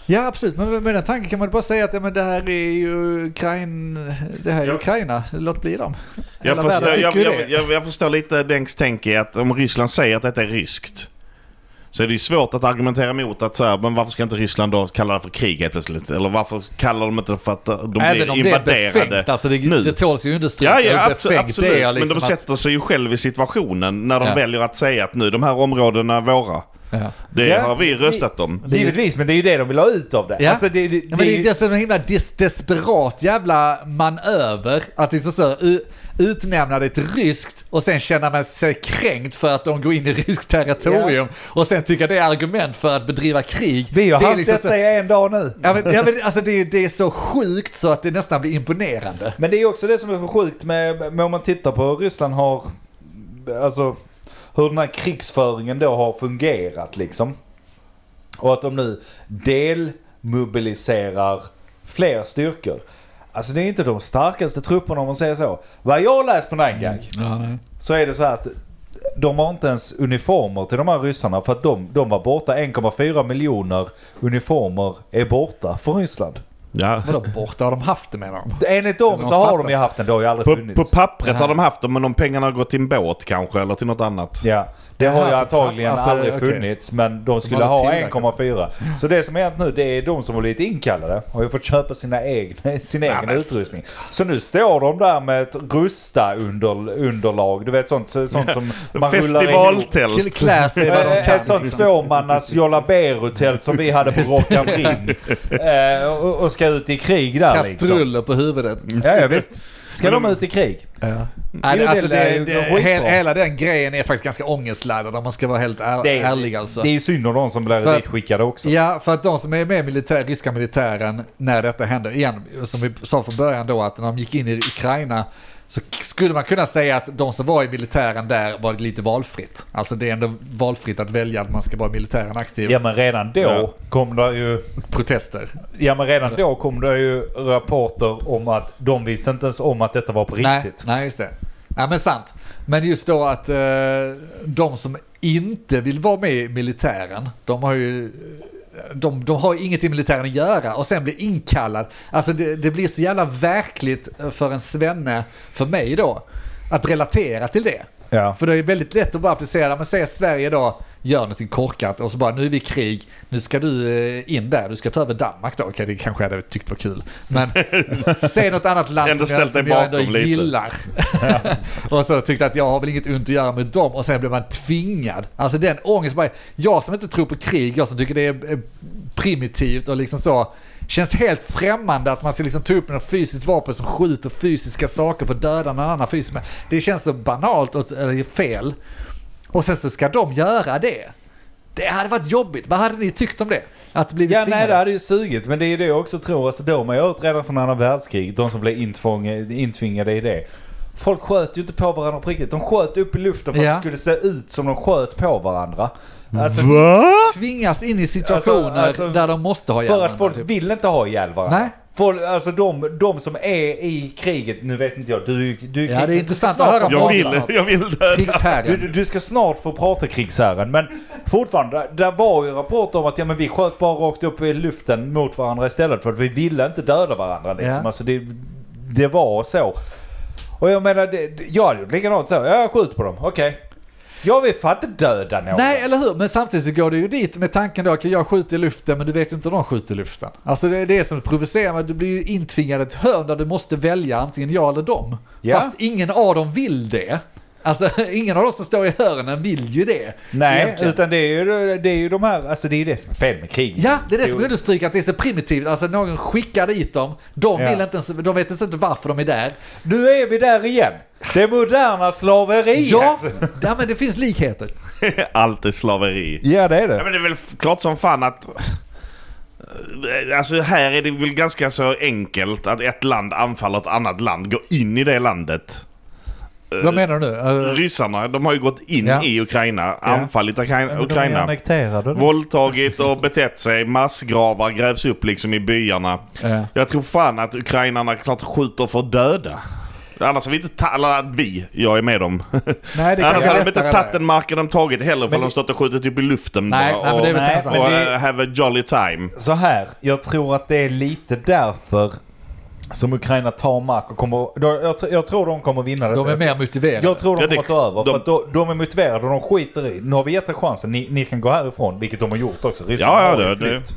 Ja absolut, men med den tanken kan man bara säga att ja, men det här är ju Ukraina, det här är
Ja.
Ukraina, låt bli dem. Hela
Jag
världen
förstår, jag,
tycker ju
jag,
det.
jag, jag förstår lite Dengs tänk i att om Ryssland säger att detta är ryskt så är det ju svårt att argumentera emot att så här, men varför ska inte Ryssland då kalla det för krig helt plötsligt? Eller varför kallar de inte det för att de
Även
blir
om det är
invaderade?
befängt, alltså det,
nu.
det tåls ju understryka
Ja,
hur
ja abso-
befängt
absolut.
det är. Liksom
men de sätter sig ju själv i situationen när de
Ja.
väljer att säga att nu de här områdena är våra.
att, ja.
Det
Ja,
har vi
det-
röstat om.
Det är ju-
Givetvis, men det är ju det de vill ha ut av det.
Ja.
Alltså, det, det,
Ja, men
det är
det
ju-
är dessutom en himla des desperat jävla manöver att liksom så u- utnämna det till ryskt och sen känna man sig kränkt för att de går in i ryskt territorium och sen tycka det är argument för att bedriva krig.
Vi har
det är
haft
liksom
detta
så,
i en dag nu.
ja, men, ja, men, alltså det, är- det är så sjukt så att det nästan blir imponerande.
Men det är också det som är så sjukt med, med om man tittar på hur Ryssland har, alltså hur den här krigsföringen då har fungerat liksom. Och att de nu delmobiliserar fler styrkor. Alltså det är inte de starkaste trupperna om man säger så. Vad jag har läst på Nangak så är det så här att de har inte ens uniformer till de här ryssarna för att de, de var borta. 1,4 miljoner uniformer är borta från Ryssland.
Ja.
Vadå borta har de haft det menar de?
Enligt dem
Men
så
de
har de
fattas.
ju haft den, det har ju aldrig
På,
funnits.
på pappret har
Ja.
de haft dem men de pengarna har gått till en båt kanske eller till något annat.
Ja, det
Det
har
här
ju
på
antagligen
papper, alltså,
aldrig
okej.
funnits men de skulle
hade
ha
tillverkat
1,4. Så det som har hänt nu det är de som var lite inkallade har ju fått köpa sina egna, [LAUGHS] sin egen
men-
utrustning. Så nu står de där med ett rusta under, underlag, du vet sånt, sånt som man rullar in.
Festivaltält.
Klä sig vad de
Eh, Ett
kan.
sånt
Liksom.
tvåmannas jollaberotält som vi hade på Rock am Ring. Eh, och, och ska ut i krig där liksom.
Kastruller på huvudet.
Ja, ja visst. Ska de ut i krig?
Ja.
Jo,
alltså
det är
det,
ju
det,
skitbra.
hel, hela den grejen är faktiskt ganska ångestladdad om man ska vara helt är,
Det är-
ärlig alltså.
Det är ju synd om de som blir
För-
ditskickade också.
Ja, för att de som är med i militär, ryska militären när detta händer, igen, som vi sa från början då, att när de gick in i Ukraina så skulle man kunna säga att de som var i militären där var lite valfritt. Alltså det är ändå valfritt att välja att man ska vara i militären aktiv.
Ja men redan då
Ja.
kom det ju
Protester.
Ja men redan då kom det ju rapporter om att de visste inte ens om att detta var på riktigt.
Nej, nej, just det. Ja, men sant. Men just då att eh, de som inte vill vara med i militären, de har ju... eh, De, de har ju inget i militären att göra och sen blir inkallad. Alltså det, det blir så jävla verkligt eh, för en svenne, för mig då, att relatera till det.
Ja.
För det är väldigt lätt att bara applicera, men säg att Sverige då gör någonting korkat och så bara nu är vi i krig, nu ska du eh, in där, du ska ta över Danmark då. Okej, det kanske jag hade tyckt var kul. Men [LAUGHS] säg något annat land
Ändå
som jag,
ställt dig
som jag ändå
bakom lite.
gillar. [LAUGHS] och så tyckte att jag har väl inget ont att göra med dem och sen blev man tvingad. Alltså den ångest, bara, jag som inte tror på krig, jag som tycker det är eh, primitivt och liksom så. Känns helt främmande att man ska liksom ta upp något fysiskt vapen som skjuter fysiska saker för att döda någon annan fysiskt. Men Det känns så banalt och eller fel. Och sen så ska de göra det. Det hade varit jobbigt. Vad hade ni tyckt om det? Att bli
Ja,
tvingade?
nej det hade ju sugit. Men det är det jag också tror. Alltså de har ju hört redan från andra världskriget. De som blev intfång- intvingade i det. Folk sköt ju inte på varandra på riktigt. De sköt upp i luften för
Ja.
att det skulle se ut som de sköt på varandra. Alltså,
Va?
Tvingas in i situationer
Alltså, alltså,
där de måste ha
för
hjälmen.
att folk
typ.
vill inte ha ihjäl varandra.
Nej.
Folk, alltså de, de som är i kriget, nu vet inte jag, du, du
Ja, det är intressant
snart
att höra
få
Jag
Ja,
vill,
sant.
jag vill döda.
Du,
Krigsherren.
du ska snart få prata krigsherren, men fortfarande, där- där var ju rapporter om att ja, men vi sköt bara rakt upp i luften mot varandra istället för att vi ville inte döda varandra. Liksom.
Ja.
Alltså, det, det var så. Och jag menar, det, det- jag hade gjort likadant så. Ja, Jag skjuter på dem, okej. Jag vill fan inte döda någon.
Nej, eller hur? Men samtidigt så går du ju dit med tanken då att jag skjuter i luften men du vet inte om de skjuter i luften. Alltså det är det som provocerar mig. Du blir ju intvingad i ett hörn där du måste välja antingen jag eller dem.
Ja.
Fast ingen av dem vill det. Alltså [LAUGHS] ingen av de som står i hörnen vill ju det.
Nej,
egentligen.
utan det är, ju, det är ju de här, alltså det är ju det som är fel med krig.
Ja, det är det som
Historiskt.
understryker att det är så primitivt. Alltså någon skickar dit dem, de,
Ja.
vill inte ens, de vet ens inte varför de är där.
Nu är vi där igen. Det moderna slaveriet.
Ja, ja men det finns likheter.
Allt är slaveri.
ja det är det.
Ja, men det är väl f- klart som fan att... Alltså här är det väl ganska så enkelt att ett land anfaller ett annat land, går in i det landet.
Vad menar du nu? Alltså,
Ryssarna, de har ju gått in
Ja.
i Ukraina, anfallit
Ja,
Ukra-
men de är
Ukraina.
annekterade.
Våldtagit och betett sig, massgravar grävs upp liksom i byarna.
Ja.
Jag tror fan att ukrainarna klart skjuter för döda. Annars har vi inte ta- eller vi, jag är med dem.
Nej, det
[LAUGHS] Annars
kanske är
hade de inte
lättare
tagit
där.
den marken de tagit heller för
Men
de
det-
stått och skjutit upp i luften
Nej,
bara.
nej, men
och-
det är väl
Nej,
samma
men
och
sak.
det-
uh, have a jolly time.
Så här, jag tror att det är lite därför som Ukraina tar mark och kommer... då- Jag, tr- jag tror de kommer vinna det.
De är mer motiverade.
Jag tror de
Ja, det-
kommer ta över.
de-
för att då, de är motiverade och de skiter i. Nu har vi gett er chansen. Ni, ni kan gå härifrån. Vilket de har gjort också. Ryssarna
Ja, ja,
har ju
det- det-
flytt.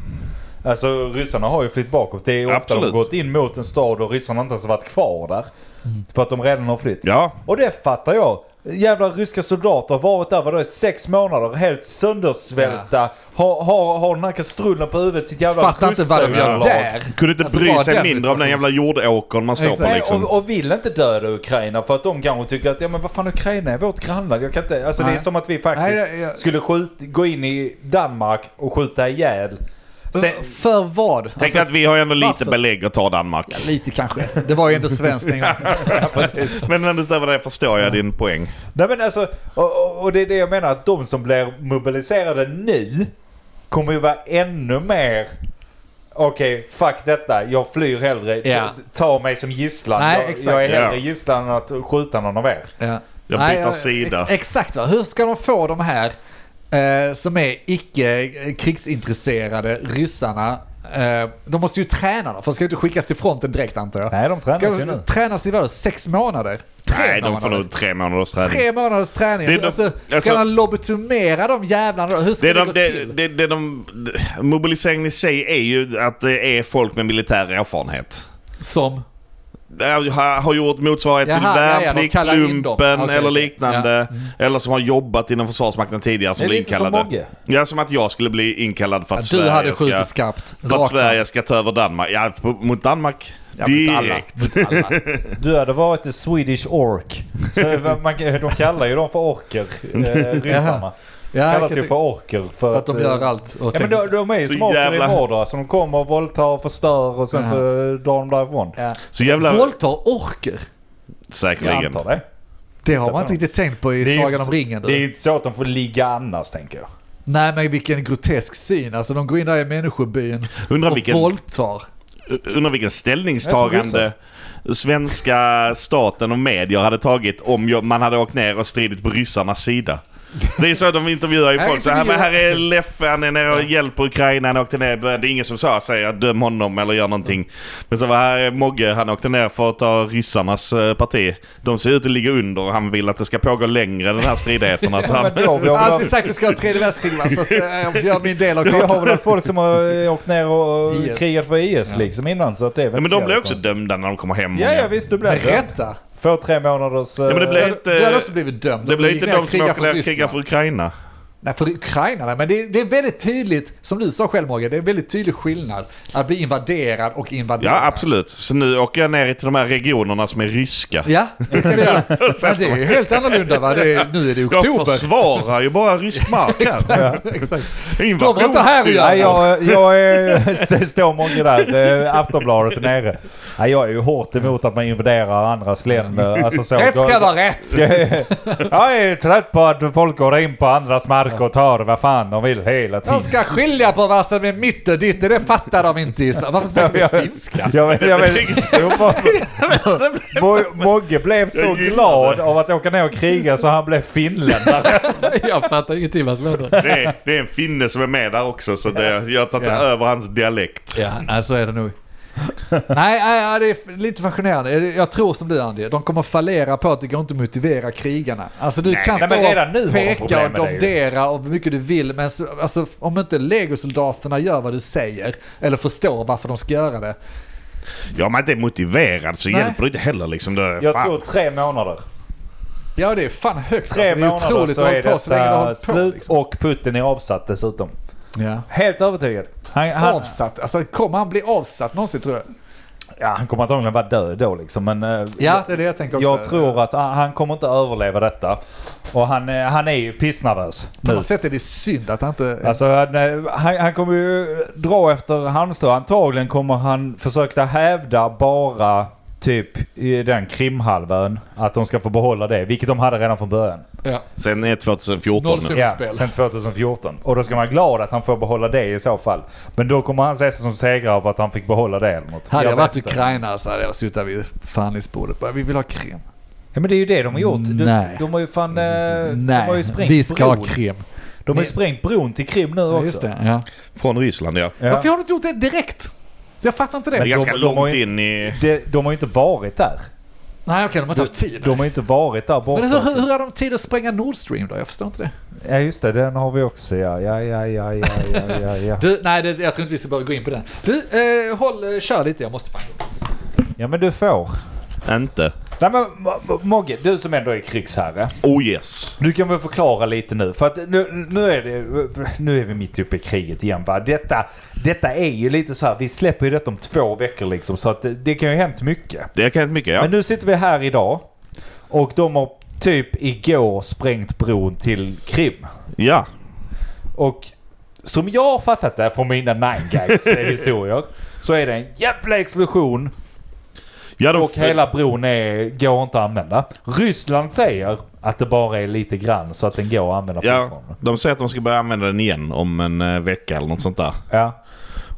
Alltså ryssarna har ju flytt bakåt. Det är ofta de
Absolut.
har gått in mot en stad och ryssarna inte ens har varit kvar där.
Mm.
För att de redan har flytt.
Ja,
Och det fattar jag. Jävla ryska soldater har varit där vadå, i sex månader, helt söndersvälta. Har, har, har den här kastrullen på huvudet, sitt jävla
Fattar inte vad de gör
rustövlar.
där.
kunde inte
Alltså,
bry
bara
sig mindre om den
situationen.
jävla jordåkern man står på
Nej,
liksom.
och, och vill inte döda Ukraina för att de kanske tycker att ja men vad fan Ukraina är vårt grannland. Jag kan inte, alltså det är
Nej.
som att vi faktiskt
Nej, jag- jag-
skulle skjuta, gå in i Danmark och skjuta ihjäl. Sen,
För vad?
Tänk att vi har ju ändå lite
varför?
belägg att ta Danmark.
Lite kanske. Det var ju ändå svenskt en gång.
[LAUGHS] Men ändå utöver det förstår jag din poäng.
nej men alltså, och, och, och det är det jag menar att de som blir mobiliserade nu kommer ju vara ännu mer Okej, fuck detta. Jag flyr hellre.
Ja.
Ta mig som gisslan.
Nej,
jag,
exakt.
jag är hellre
Ja.
gisslan än att skjuta någon av er.
Ja. eh,
Jag byter sida.
Ex exakt va. Hur ska de få de här eh, som är icke eh, krigsintresserade ryssarna. Eh, de måste ju träna dem. För de ska ju inte skickas till fronten direkt antar jag.
Nej, de tränas ju
ska
nu.
de tränas i vadå? Sex månader? Tre
Nej, de får
månader?
nog tre månaders träning.
Tre månaders träning.
Det är de-
alltså, ska
alltså-
man lobotomera de jävlarna då? Hur ska
Det
det,
är de,
gå
det,
till?
det, det är de, mobiliseringen i sig är ju att det är folk med militär erfarenhet.
Som?
Ja, Har, har gjort motsvarighet till
Jaha, ja, ja, de
värnplikt,
kallar in dem.
lumpen
Okej,
eller
okej. Mm.
liknande. Eller som har jobbat inom Försvarsmakten tidigare som
Det är
blir
lite som
inkallade.
Mogge.
Ja, som att jag skulle bli inkallad för att
Du
Sverige
hade skjutit
ska...
skarpt.
För att
Rakt fram.
Sverige ska ta över Danmark. Ja, på- mot Danmark.
Ja, mot alla.
direkt.
Mot alla.
Du hade varit the Swedish Ork.
[LAUGHS]
Så man, de kallar ju dem för orker, eh, ryssarna.
Ja,
kallas ju
jag
för
kan-
orker. För,
För att de
eh,
gör allt. Och
Ja men de, de är ju
Så
som orker i
jävla-
Mordor. Så de kommer och våldtar och förstör och sen så drar de därifrån.
ja.
Så jävla...
Våldtar orker?
Jag
Säkerligen.
antar det.
Det har man inte riktigt tänkt på i
Det är ju
Sagan
inte-
om ringen.
Det är ju
Du.
inte så att de får ligga annars tänker jag.
Nej men vilken grotesk syn. Alltså de går in där i människobyn
Undrar
och
vilken,
våldtar.
undrar vilken
Det är som
ställningstagande svenska staten och medier hade tagit om jag- man hade åkt ner och stridit på ryssarnas sida. Det är så de intervjuar ju
Här
folk. Så här, men
intervjuar-
här är Leffe, han är nere och hjälper Ukraina, han åkte ner. Det är ingen som sa säger att döm honom eller gör någonting. Men så var här är Mogge, han åkte ner för att ta ryssarnas eh, parti. De ser ut att ligga under och han vill att det ska pågå längre den här stridigheterna. Så han,
Men då, vi
Jag
har
har
väl,
alltid
alltså,
sagt att vi ska ha tredje världskrig va? så att, eh, jag gör
[LAUGHS]
min del av
vi har
kakan.
väl haft folk som har eh, åkt ner och
IS.
krigat för IS liksom innan. Så att det är väl
ja, men
inte så
de blir
jävla
också
konstigt.
dömda när de kommer hem.
Ja, ja visst, du blir
Med
det.
rätta.
Får tre månaders...
men det
eh,
blir-
Du
inte-
hade också blivit dömd.
Det blir inte
gick ner och
de som
krigade
åker ner och krigar
Ryssland.
för Ukraina.
Nej, för ukrainarna, men det, det är väldigt tydligt, som du sa själv Morgan, det är en väldigt tydlig skillnad att bli invaderad och invaderad.
Ja, absolut. Så nu åker jag ner till de här regionerna som är ryska.
Ja, det kan du
[LAUGHS]
göra. Men det är ju helt annorlunda va? Det är, nu är det
Jag
oktober.
försvarar ju bara rysk mark här.
Exakt, exakt.
Invasion.
De var inte här ju.
Nej, jag, jag är, står många där, eh, Aftonbladet är nere. Nej, jag är ju hårt emot att man invaderar andras länder. Alltså så.
Rätt ska vara rätt.
Jag är- Jag är trött på att folk går in på andras mark och tar vad fan de vill hela tiden.
De ska skilja på vad som är mitt och ditt, det fattar de inte i Sverige. Varför snackar vi finska? [LAUGHS]
Jag vet, jag vet, Jo, Mo- Mo- Mogge blev så
Jag gillar
glad av att åka ner och kriga så han blev finländare.
[LAUGHS]
Jag fattar ingenting vad som händer.
Det är, det är en finne som är med där också så det, jag har tagit
Ja.
över hans dialekt.
Ja, nej, så är det nog. Nej, nej, nej, det är lite fascinerande. Jag tror som du Andy, de kommer fallera på att det går inte att motivera krigarna. Alltså du kan
nej,
stå
men redan nu har de
och peka och
problem med det ju.
domdera och hur mycket du vill, men så, alltså, om inte legosoldaterna gör vad du säger, eller förstår varför de ska göra det.
Ja, man inte är motiverad så
Nej.
hjälper det inte heller liksom. Det,
Jag
fan.
tror tre månader.
Ja, det är fan högt.
Tre
alltså, det är
månader
otroligt
så
att
är
hålla på så länge du har
detta
hållit på.
slut
Liksom.
och Putin är avsatt dessutom.
Ja.
Helt övertygad. Han, han,
Avsatt, alltså kommer han bli avsatt någonsin tror jag?
ja, han kommer antagligen vara död då liksom. Men, eh,
Ja, det är det jag tänker också.
Jag tror att han han kommer inte överleva detta. Och han, eh, han är ju pissnervös
På
nu.
något sätt är det synd att han inte...
Alltså han, eh, han, han kommer ju dra efter Halmstad. Antagligen kommer han försöka hävda bara typ i den krimhalvön att de ska få behålla det. Vilket de hade redan från början.
ja.
Sen är 2014 nu.
Noll-
Ja,
Spel.
sen 2014. Och då ska man vara glad att han får behålla det i så fall. Men då kommer han se sig som segrare för att han fick behålla det eller något.
Hade jag,
vet
varit
inte.
ukrainare så hade jag suttit vid förhandlingsbordet bara, vi vill ha
Eh,
krim.
Ja men det är ju det de har gjort. De,
Nej.
de har ju fan... eh, De har ju
Nej,
sprängt
vi ska
bron.
ha krim.
De har ju sprängt bron till Krim nu
Ja,
också.
just det, ja.
Från Ryssland ja.
Ja.
Varför har du inte gjort det direkt? Jag fattar inte det.
Det är
Nej,
Men-
ganska
de har
långt
ju-
in i...
De, de har ju inte varit där.
okej, de har tagit tid.
De har ju inte varit där borta.
Men hur, hur, hur har de tid att spränga Nord Stream då? Jag förstår inte det.
Ja just det, den har vi också ja. Ja, ja, ja, ja, ja, ja, ja.
Du, nej, det, jag tror inte vi ska börja gå in på den. Du, eh, håll, eh, kör lite. Jag måste fan gå.
Ja men [LAUGHS] du får.
Inte.
Nej men M- M- Mogge, du som ändå är krigsherre.
Oh yes.
Du kan väl förklara lite nu? För att nu, nu, är, det, nu är vi mitt uppe i kriget igen va? Detta, detta är ju lite så här, vi släpper ju detta om två veckor liksom. Så att det, det kan ju ha hänt mycket.
Det kan inte mycket ja.
Men nu sitter vi här idag. Och de har typ igår sprängt bron till Krim.
Ja.
Och som jag har fattat det från mina nine [LAUGHS] guys eh, historier så är det en jävla explosion
ja de,
och hela bron är, går inte att använda. Ryssland säger att det bara är lite grann så att den går att använda
Ja,
fortfarande.
de säger att de ska börja använda den igen om en eh, vecka eller något sånt där.
Ja.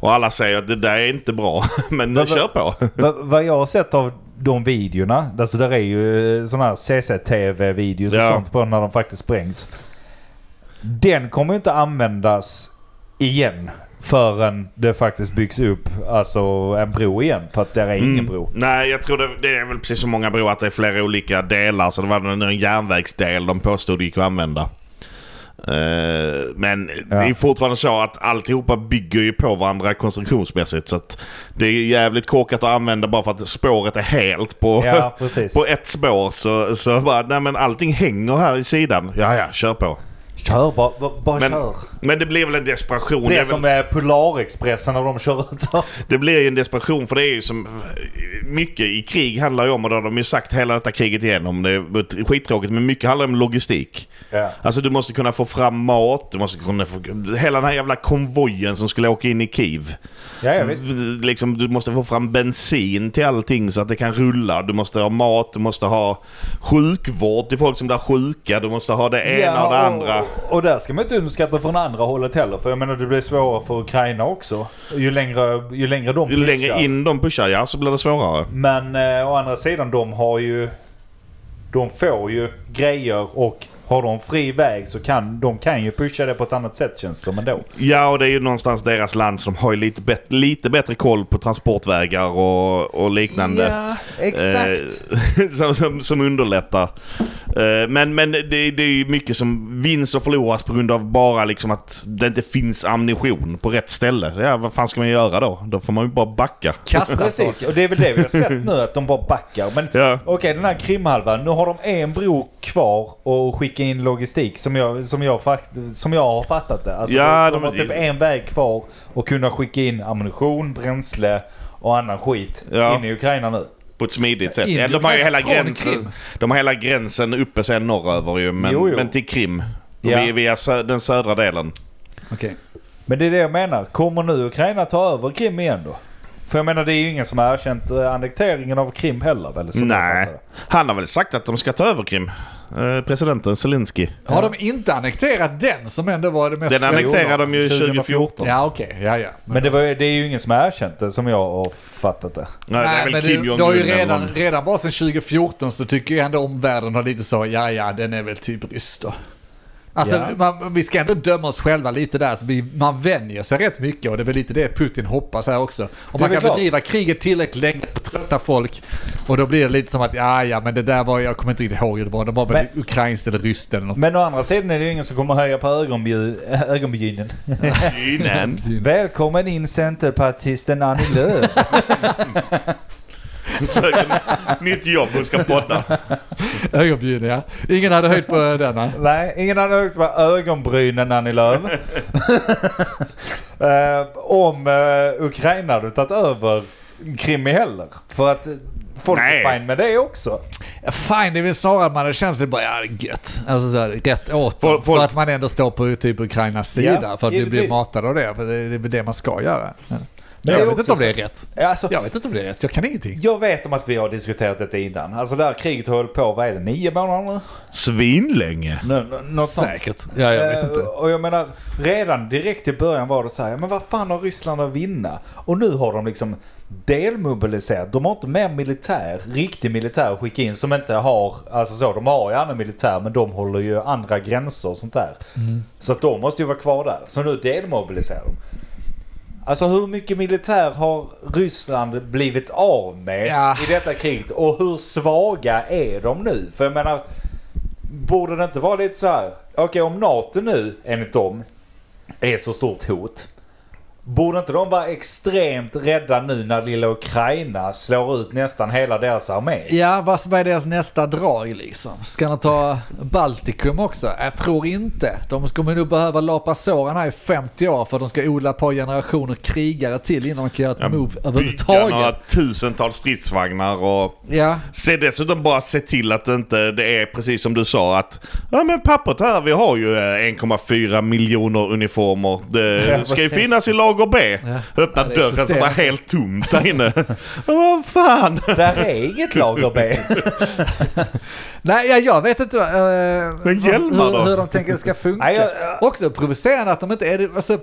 Och alla säger att det där är inte bra. [LAUGHS] Men nu
Vad-
kör på.
Va- [LAUGHS] Vad jag har sett av de videorna, alltså där är ju sådana här CCTV-videos och
Ja.
sånt på när de faktiskt sprängs. Den kommer ju inte användas igen förrän det faktiskt byggs upp alltså en bro igen. För att där är ingen bro.
Mm. Nej, jag tror det, det är väl precis som många broar att det är flera olika delar. Så det var en, en järnvägsdel de påstod gick att använda. Eh, men det är fortfarande så att alltihopa bygger ju på varandra konstruktionsmässigt. Så att det är jävligt korkat att använda bara för att spåret är helt på, [LAUGHS]
Ja, precis.
på ett spår. Så, så bara, nej men allting hänger här i sidan. Ja, ja, kör på.
Kör bara, bara, bara
Men,
kör.
men det blir väl en desperation.
Det
är
är
väl-
som eh, Polarexpressen när de kör ut.
Det blir ju en desperation för det är ju som... Mycket i krig handlar ju om, och det har de ju sagt hela detta kriget igenom, det är skittråkigt, men mycket handlar om logistik.
Ja.
Alltså du måste kunna få fram mat, du måste kunna få... Hela den här jävla konvojen som skulle åka in i Kiev.
Ja, ja, visst.
Liksom, du måste få fram bensin till allting så att det kan rulla. Du måste ha mat, du måste ha sjukvård till folk som blir sjuka, du måste ha det ena och det andra.
Och, och där ska man inte underskatta från andra hållet heller. För jag menar det blir svårare för Ukraina också. Ju längre, ju längre de
Ju längre in de pushar, ja, så blir det svårare.
Men eh, å andra sidan de har ju... De får ju grejer och har de fri väg så kan de kan ju pusha det på ett annat sätt känns det som ändå.
Ja, och det är ju någonstans deras land så de har ju lite, bet- lite bättre koll på transportvägar och, och liknande. Eh, [LAUGHS] som, som, som underlättar. Eh, men men det, det är ju mycket som vinns och förloras på grund av bara liksom att det inte finns ammunition på rätt ställe. Ja, vad fan ska man göra då? Då får man ju bara backa.
Kasta
Precis,
sås.
och det är väl det vi har sett nu att de bara backar. Men
Ja.
okej, den här krimhalvan. Nu har de en bro kvar och skicka in logistik som jag, som jag, fakt- som jag har fattat det. Alltså,
Ja,
de, de
de-
har typ en väg kvar och kunna skicka in ammunition, bränsle och annan skit
Ja.
in i Ukraina nu.
På ett smidigt sätt.
Indien
Ja, de har ju
kan-
hela
från
gränsen,
Krim.
de har hela gränsen uppe sen norröver ju. Men,
Jo, jo.
men till Krim.
Ja.
Vi, via sö- den södra delen.
Okej.
Men det är det jag menar. Kommer nu Ukraina ta över Krim igen då? För jag menar det är ju ingen som har erkänt eh, annekteringen av Krim heller väl? som jag
Nej.
fattar det.
Han har väl sagt att de ska ta över Krim. Eh, presidenten Zelensky.
Har de inte annekterat den som ändå var det mest...
Den annekterade de ju
2014.
2014.
Ja, okej. Ja, ja.
Men det, var, ju- det är ju ingen som har erkänt det som jag har fattat det.
Nej, det är väl Kim
det,
Jong-Un.
det har ju
eller
redan,
någon.
redan bara sedan 2014 så tycker jag ändå omvärlden har lite så, ja ja, den är väl typ ryss då. Alltså,
Ja.
man, vi ska ändå döma oss själva lite där, att vi, man vänjer sig rätt mycket och det är väl lite det Putin hoppas här också. Om man
väl
kan
klart.
bedriva kriget tillräckligt länge så tröttar folk och då blir det lite som att, ja ja, men det där var, jag kommer inte riktigt ihåg hur det var, det var väl ukrainskt eller ryskt eller något.
Men å andra sidan är det ju ingen som kommer höja på [LAUGHS] ögonbju- ögonbrynen.
Innan.
Välkommen in centerpartisten Annie Lööf.
Söker nytt jobb och ska podda.
Ögonbrynen ja. Ingen hade höjt på den nej.
Nej, ingen hade högt på ögonbrynen Annie Lööf. Eh, om eh, Ukraina hade tagit över Krim heller. För att eh, folk är
Nej.
fine med det också.
Fine, det är väl snarare att man känns det bara ja, det är gött. Alltså så här, rätt åt dem.
Folk- folk-
För att man ändå står på typ Ukrainas sida.
Ja,
för att vi blir
givetvis.
matade av det. För det, det är väl det man ska göra. Men,
det är
jag vet
också
inte om det är
så-
rätt.
Alltså,
Jag vet inte om det är rätt. Jag kan ingenting.
Jag vet om att vi har diskuterat detta innan. Alltså det här kriget höll på, vad är det, nio månader nu?
Svinlänge.
Nå- nå- Något sånt.
Säkert. Ja, jag vet
Eh,
inte.
Och jag menar, redan direkt i början var det så här, ja, men vad fan har Ryssland att vinna? Och nu har de liksom delmobiliserat. De har inte mer militär, riktig militär att skicka in som inte har, alltså så, de har ju annan militär men de håller ju andra gränser och sånt där.
Mm.
Så att de måste ju vara kvar där. Så nu delmobiliserar de. Alltså hur mycket militär har Ryssland blivit av med
Ja.
i detta kriget och hur svaga är de nu? För jag menar, Borde det inte vara lite så här? Okej, om NATO nu, enligt dem, är så stort hot. Borde inte de vara extremt rädda nu när lilla Ukraina slår ut nästan hela deras
[LAUGHS]
armé?
Ja, vad vad är deras nästa drag liksom? Ska de ta Baltikum också? Jag tror inte. De kommer nog behöva lapa såren här i 50 år för att de ska odla ett par generationer krigare till innan de kan göra ett move
Bygga några
överhuvudtaget.
tusentals stridsvagnar och...
Ja,
Se dessutom bara se till att det inte det är precis som du sa att ja men pappret här vi har ju eh, 1,4 miljoner uniformer. Det ska ju finnas i lager B. Öppna
Ja, det
dörren som
existerar
var
inte.
helt tomt
[LAUGHS]
där inne. Ja, Vad fan!
Där är inget lager B.
Nej, ja, jag vet inte eh,
Men hjälmar
hur,
då?
hur de tänker det ska funka.
Nej, jag-
Också provocerande att de inte är... det- Alltså,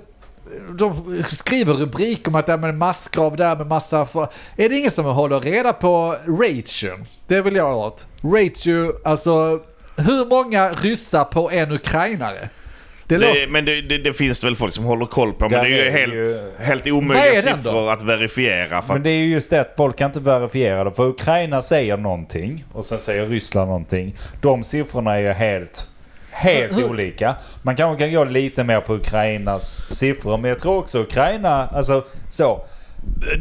de skriver rubrik om att det är med massgrav där med massa... För... Är det ingen som håller reda på ratio? Det vill jag åt. Ratio, alltså hur många ryssar på en ukrainare? Det
Det,
låter...
men det, det, det finns det väl folk som håller koll på men
Där
det är ju
är
helt,
ju-
helt
Vad
omöjliga
är den då?
siffror att verifiera. För
Men
att,
det är ju just det att folk kan inte verifiera det. För Ukraina säger någonting och sen säger Ryssland någonting. De siffrorna är ju helt, helt
Hur-
olika. Man kanske kan gå lite mer på Ukrainas siffror. Men jag tror också Ukraina, alltså så.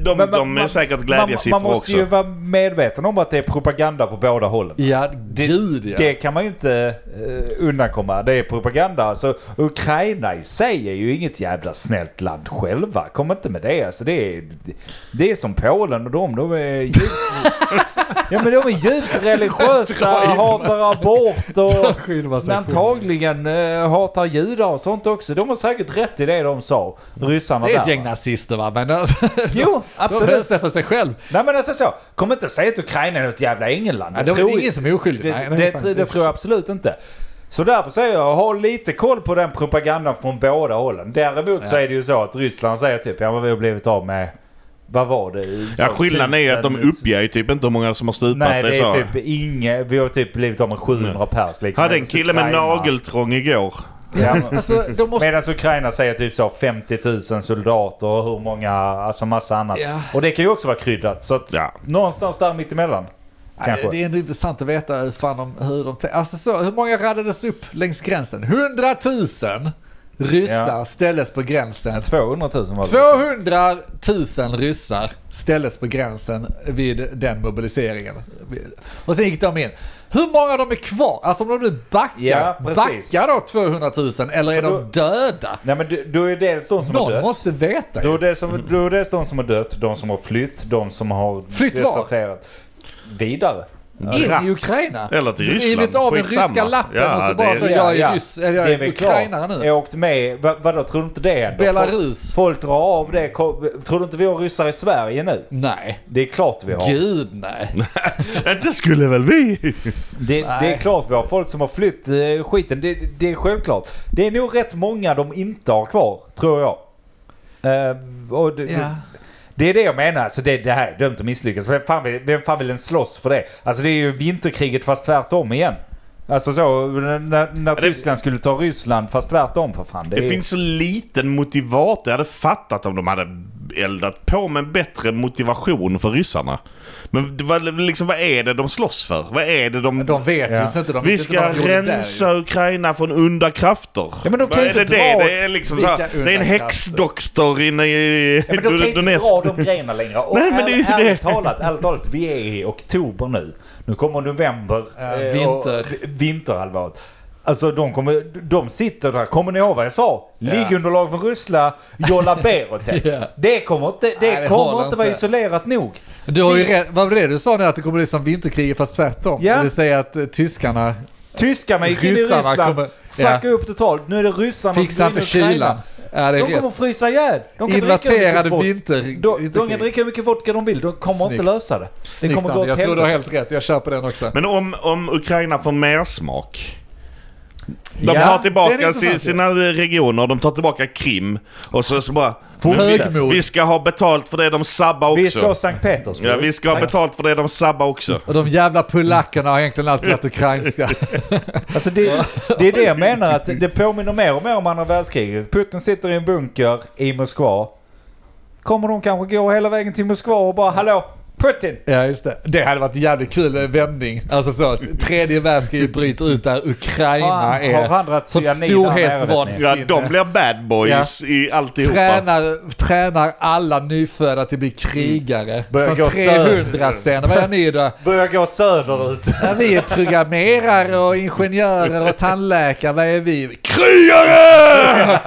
de
Men-
de
men-
är säkert
man,
glädjesiffror
man måste
också.
ju vara medveten om att det är propaganda på båda hållen.
Ja, gud ja. [LAUGHS]
Det kan man ju inte uh, undankomma. Det är propaganda. Så Ukraina i sig är ju inget jävla snällt land själva. Kom inte med det. Alltså, det, är, det är som Polen och de, de är djupt...
[LAUGHS]
ja men de är djupt religiösa,
in
hatar abort och
Dra in massa
men antagligen eh, hatar judar och sånt också. De har säkert rätt i det de sa, ryssarna
Det är ett
där.
gäng nazister va? Men [LAUGHS] alltså,
Jo,
de
absolut.
höll sig för sig själv.
Nej men alltså så, kom inte och säg att Ukraina är något jävla England.
Ja, det
tror
är ingen som är oskyldig.
det,
Nej,
det,
nej, fan.
tr- det tror jag absolut inte. Så därför säger jag, ha lite koll på den propagandan från båda hållen. Däremot så är det ju så att Ryssland säger typ, ja men vi har blivit av med, vad var det? Så
Ja, skillnaden är ju att de
tusen-
uppger ju typ inte hur många som har stupat.
Nej det är
så.
typ inga, vi har typ blivit av med 700 pers liksom.
Hade en
Medans
kille med
Ukraina-
nageltrång igår. [LAUGHS]
Ja, men-
Alltså, de måste...
Medan Ukraina säger typ så 50 000 soldater och hur många, alltså massa annat.
Ja.
Och det kan ju också vara kryddat. Så att
Ja.
någonstans där mittemellan. Kanske.
Det är ändå intressant att veta hur, fan de, hur de... tän- Alltså så, hur många radades upp längs gränsen? 100 000 ryssar
Ja.
ställdes på gränsen.
200 000 var det.
200 000 ryssar ställdes på gränsen vid den mobiliseringen. Och sen gick de in. hur många av dem är kvar? Alltså om de nu backar,
Ja, precis.
backar då 200 000 eller är
För då-
de döda?
Nej men du, du är dels de som har
Någon
dött.
måste veta
Du är
ju.
dels, som, du är dels de som har dött, de som har flytt, de som har
Flytt var?
deserterat. Vidare.
In
Ratt.
i Ukraina.
Eller till
Drivit
Ryssland.
av den
Skitsamma.
ryska lappen
Ja,
och så
det
bara
är-
så jag är ryss, eller jag
Det
är,
väl
ukrainare
klart.
nu.
Jag åkte med. Va- Vadå, tror du inte det händer?
Belarus.
Folk, folk drar av det. Ko- Tror du inte vi har ryssar i Sverige nu?
Nej.
Det är klart vi har.
Gud nej.
Inte skulle väl vi?
Det, det är
Nej.
klart vi har folk som har flytt eh, skiten. Det, det är självklart. Det är nog rätt många de inte har kvar, tror jag. Eh, och det,
Ja.
det är det jag menar. Alltså det, det här är dömt att misslyckas. Vem fan, vill, vem fan vill ens slåss för det? Alltså det är ju vinterkriget fast tvärtom igen. Alltså så, när, när
det-
Tyskland skulle ta Ryssland fast tvärtom för fan. Det,
Det
är,
finns så liten motivator. Jag hade fattat om de hade eldat på med en bättre motivation för ryssarna. Men det var liksom, vad är det de slåss för? Vad är det de...
De vet
Ja.
ju så inte de
vi
visste inte
ska
vad de gjorde där ju.
rensa Ukraina från onda krafter.
Ja, men de kan
Vad
ju
är det,
inte
det?
dra-
det är liksom så
Vilka
här, Det
onda
är en
krafter?
häxdoktor inne i
Ja, men de kan ju inte
Donetsk.
dra de grejerna
[LAUGHS]
längre. Och
Nej, men det är ju
ärligt, ärligt,
det.
talat, ärligt talat, vi är i oktober nu. Nu kommer november.
Ja,
eh,
vinter.
och v- Vinterhalvåret. Alltså de, kommer, de sitter där, kommer ni ihåg vad jag sa?
Ja.
Liggunderlag för Ryssland, Jolla [LAUGHS] Berotec.
Ja.
Det kommer inte, det
Nej, det
kommer
håller
inte vara
inte.
isolerat nog.
Du har ju rätt, vad var det du sa nu att det kommer bli som vinterkriget fast tvärtom?
Ja.
Det vill säga att eh, tyskarna
Tyskarna gick in i
Ryssarna
Ryssland,
kommer-
fuckade upp totalt. Nu är det ryssarna
fixar inte kylan. Ja, det är
De kommer
rätt.
frysa ihjäl. De kan dricka hur mycket
Inverterade
vodka-
vinter...
De, de
vinterkrig.
kan dricka hur mycket vodka de vill. De kommer
Snyggt.
inte lösa det.
Snyggt,
det kommer gå åt
Jag tror du har
helvete.
helt rätt, jag köper den också.
Men om, om Ukraina får mer smak.
Ja,
De tar
den är
tillbaka
intressant,
si- sina regioner, de tar tillbaka Krim. Och så, så bara...
Fortsätt.
Högmod.
Vi ska ha betalt för det de sabbar också.
Vi ska ha Sankt Petersburg.
Ja, vi ska ha betalt för det de sabbar också.
Och de jävla polackerna har egentligen alltid varit
[LAUGHS]
ukrainska.
Alltså det, det är det jag menar, att det påminner mer och mer om andra världskriget. Putin sitter i en bunker i Moskva. Kommer de kanske gå hela vägen till Moskva och bara hallå Putin!
Ja, just det. Det hade varit en jävligt kul eh, vändning. Alltså så att tredje världskriget bryter ut där Ukraina
Ah, har han
är
dragit
sånt
cyanid där
Ja,
storhetsvansinne.
de blir bad boys i alltihopa.
Tränar, tränar alla nyfödda till att bli krigare.
Börjar
Som
gå
300 sen. Vad är ni då?
Börjar gå söderut.
Ja, vi är programmerare och ingenjörer och tandläkare. Vad är vi? Krigare!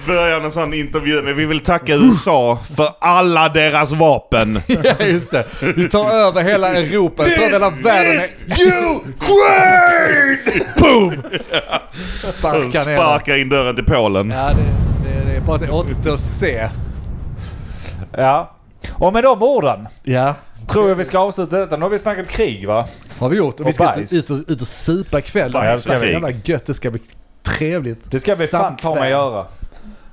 [LAUGHS] Börjar en sån intervju med vi vill tacka USA för alla deras vapen.
[LAUGHS] Ja, just det. Vi tar över hela Europa. Vi tar över hela världen. med
Ukraine! Boom!
Sparkar ner dem.
Sparkar in dörren till Polen.
Ja, det, det, det är bara att det återstår att se.
Ja. Och med de orden
Ja.
tror jag vi ska avsluta detta. Nu har vi snackat krig va?
Har vi gjort. Och vi
Och
ska
bajs.
ut, ut, och, ut och supa ikväll.
Bajs,
Bajs,
ja.
jävla gött. Det ska bli trevligt.
Det ska vi fan ta mig göra.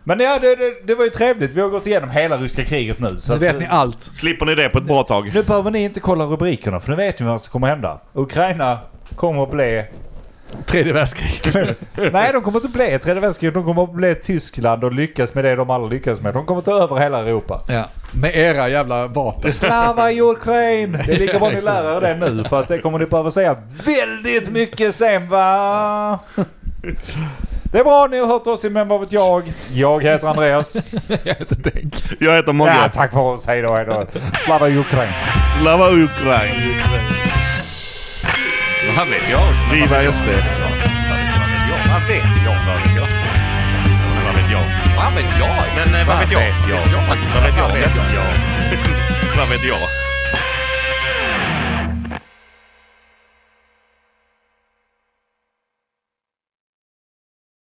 Men ja, det, det, det var ju trevligt. Vi har gått igenom hela ryska kriget nu. Så
Nu
att- eh,
vet ni allt.
Slipper ni det på ett bra tag?
Nu behöver ni inte kolla rubrikerna för nu vet ni vad som kommer hända. Ukraina kommer att
[LAUGHS]
bli...
Tredje världskriget.
[LAUGHS] Nej, de kommer inte bli ett tredje världskrig. De kommer att bli Tyskland och lyckas med det de aldrig lyckades med. De kommer att ta över hela Europa.
Ja. Med era jävla vapen. [LAUGHS]
Slava Ukraine! Det är lika bra ni
exakt.
lär er det nu för att det kommer ni behöva säga väldigt mycket sen va? Det är bra, ni har hört oss i Men vad vet jag? Jag heter Andreas.
Jag heter Denk.
Jag heter Mogge.
Ja, tack för oss. Hej då, hej då. Slava Ukraine!
Slava Ukraina.
Vad vet jag?
Viva SD.
Vad vet jag? Vad vet jag? Vad vet jag? Vad vet jag? Men eh, vad vet jag? Vad vet jag? Vad vet jag? Vad vet jag?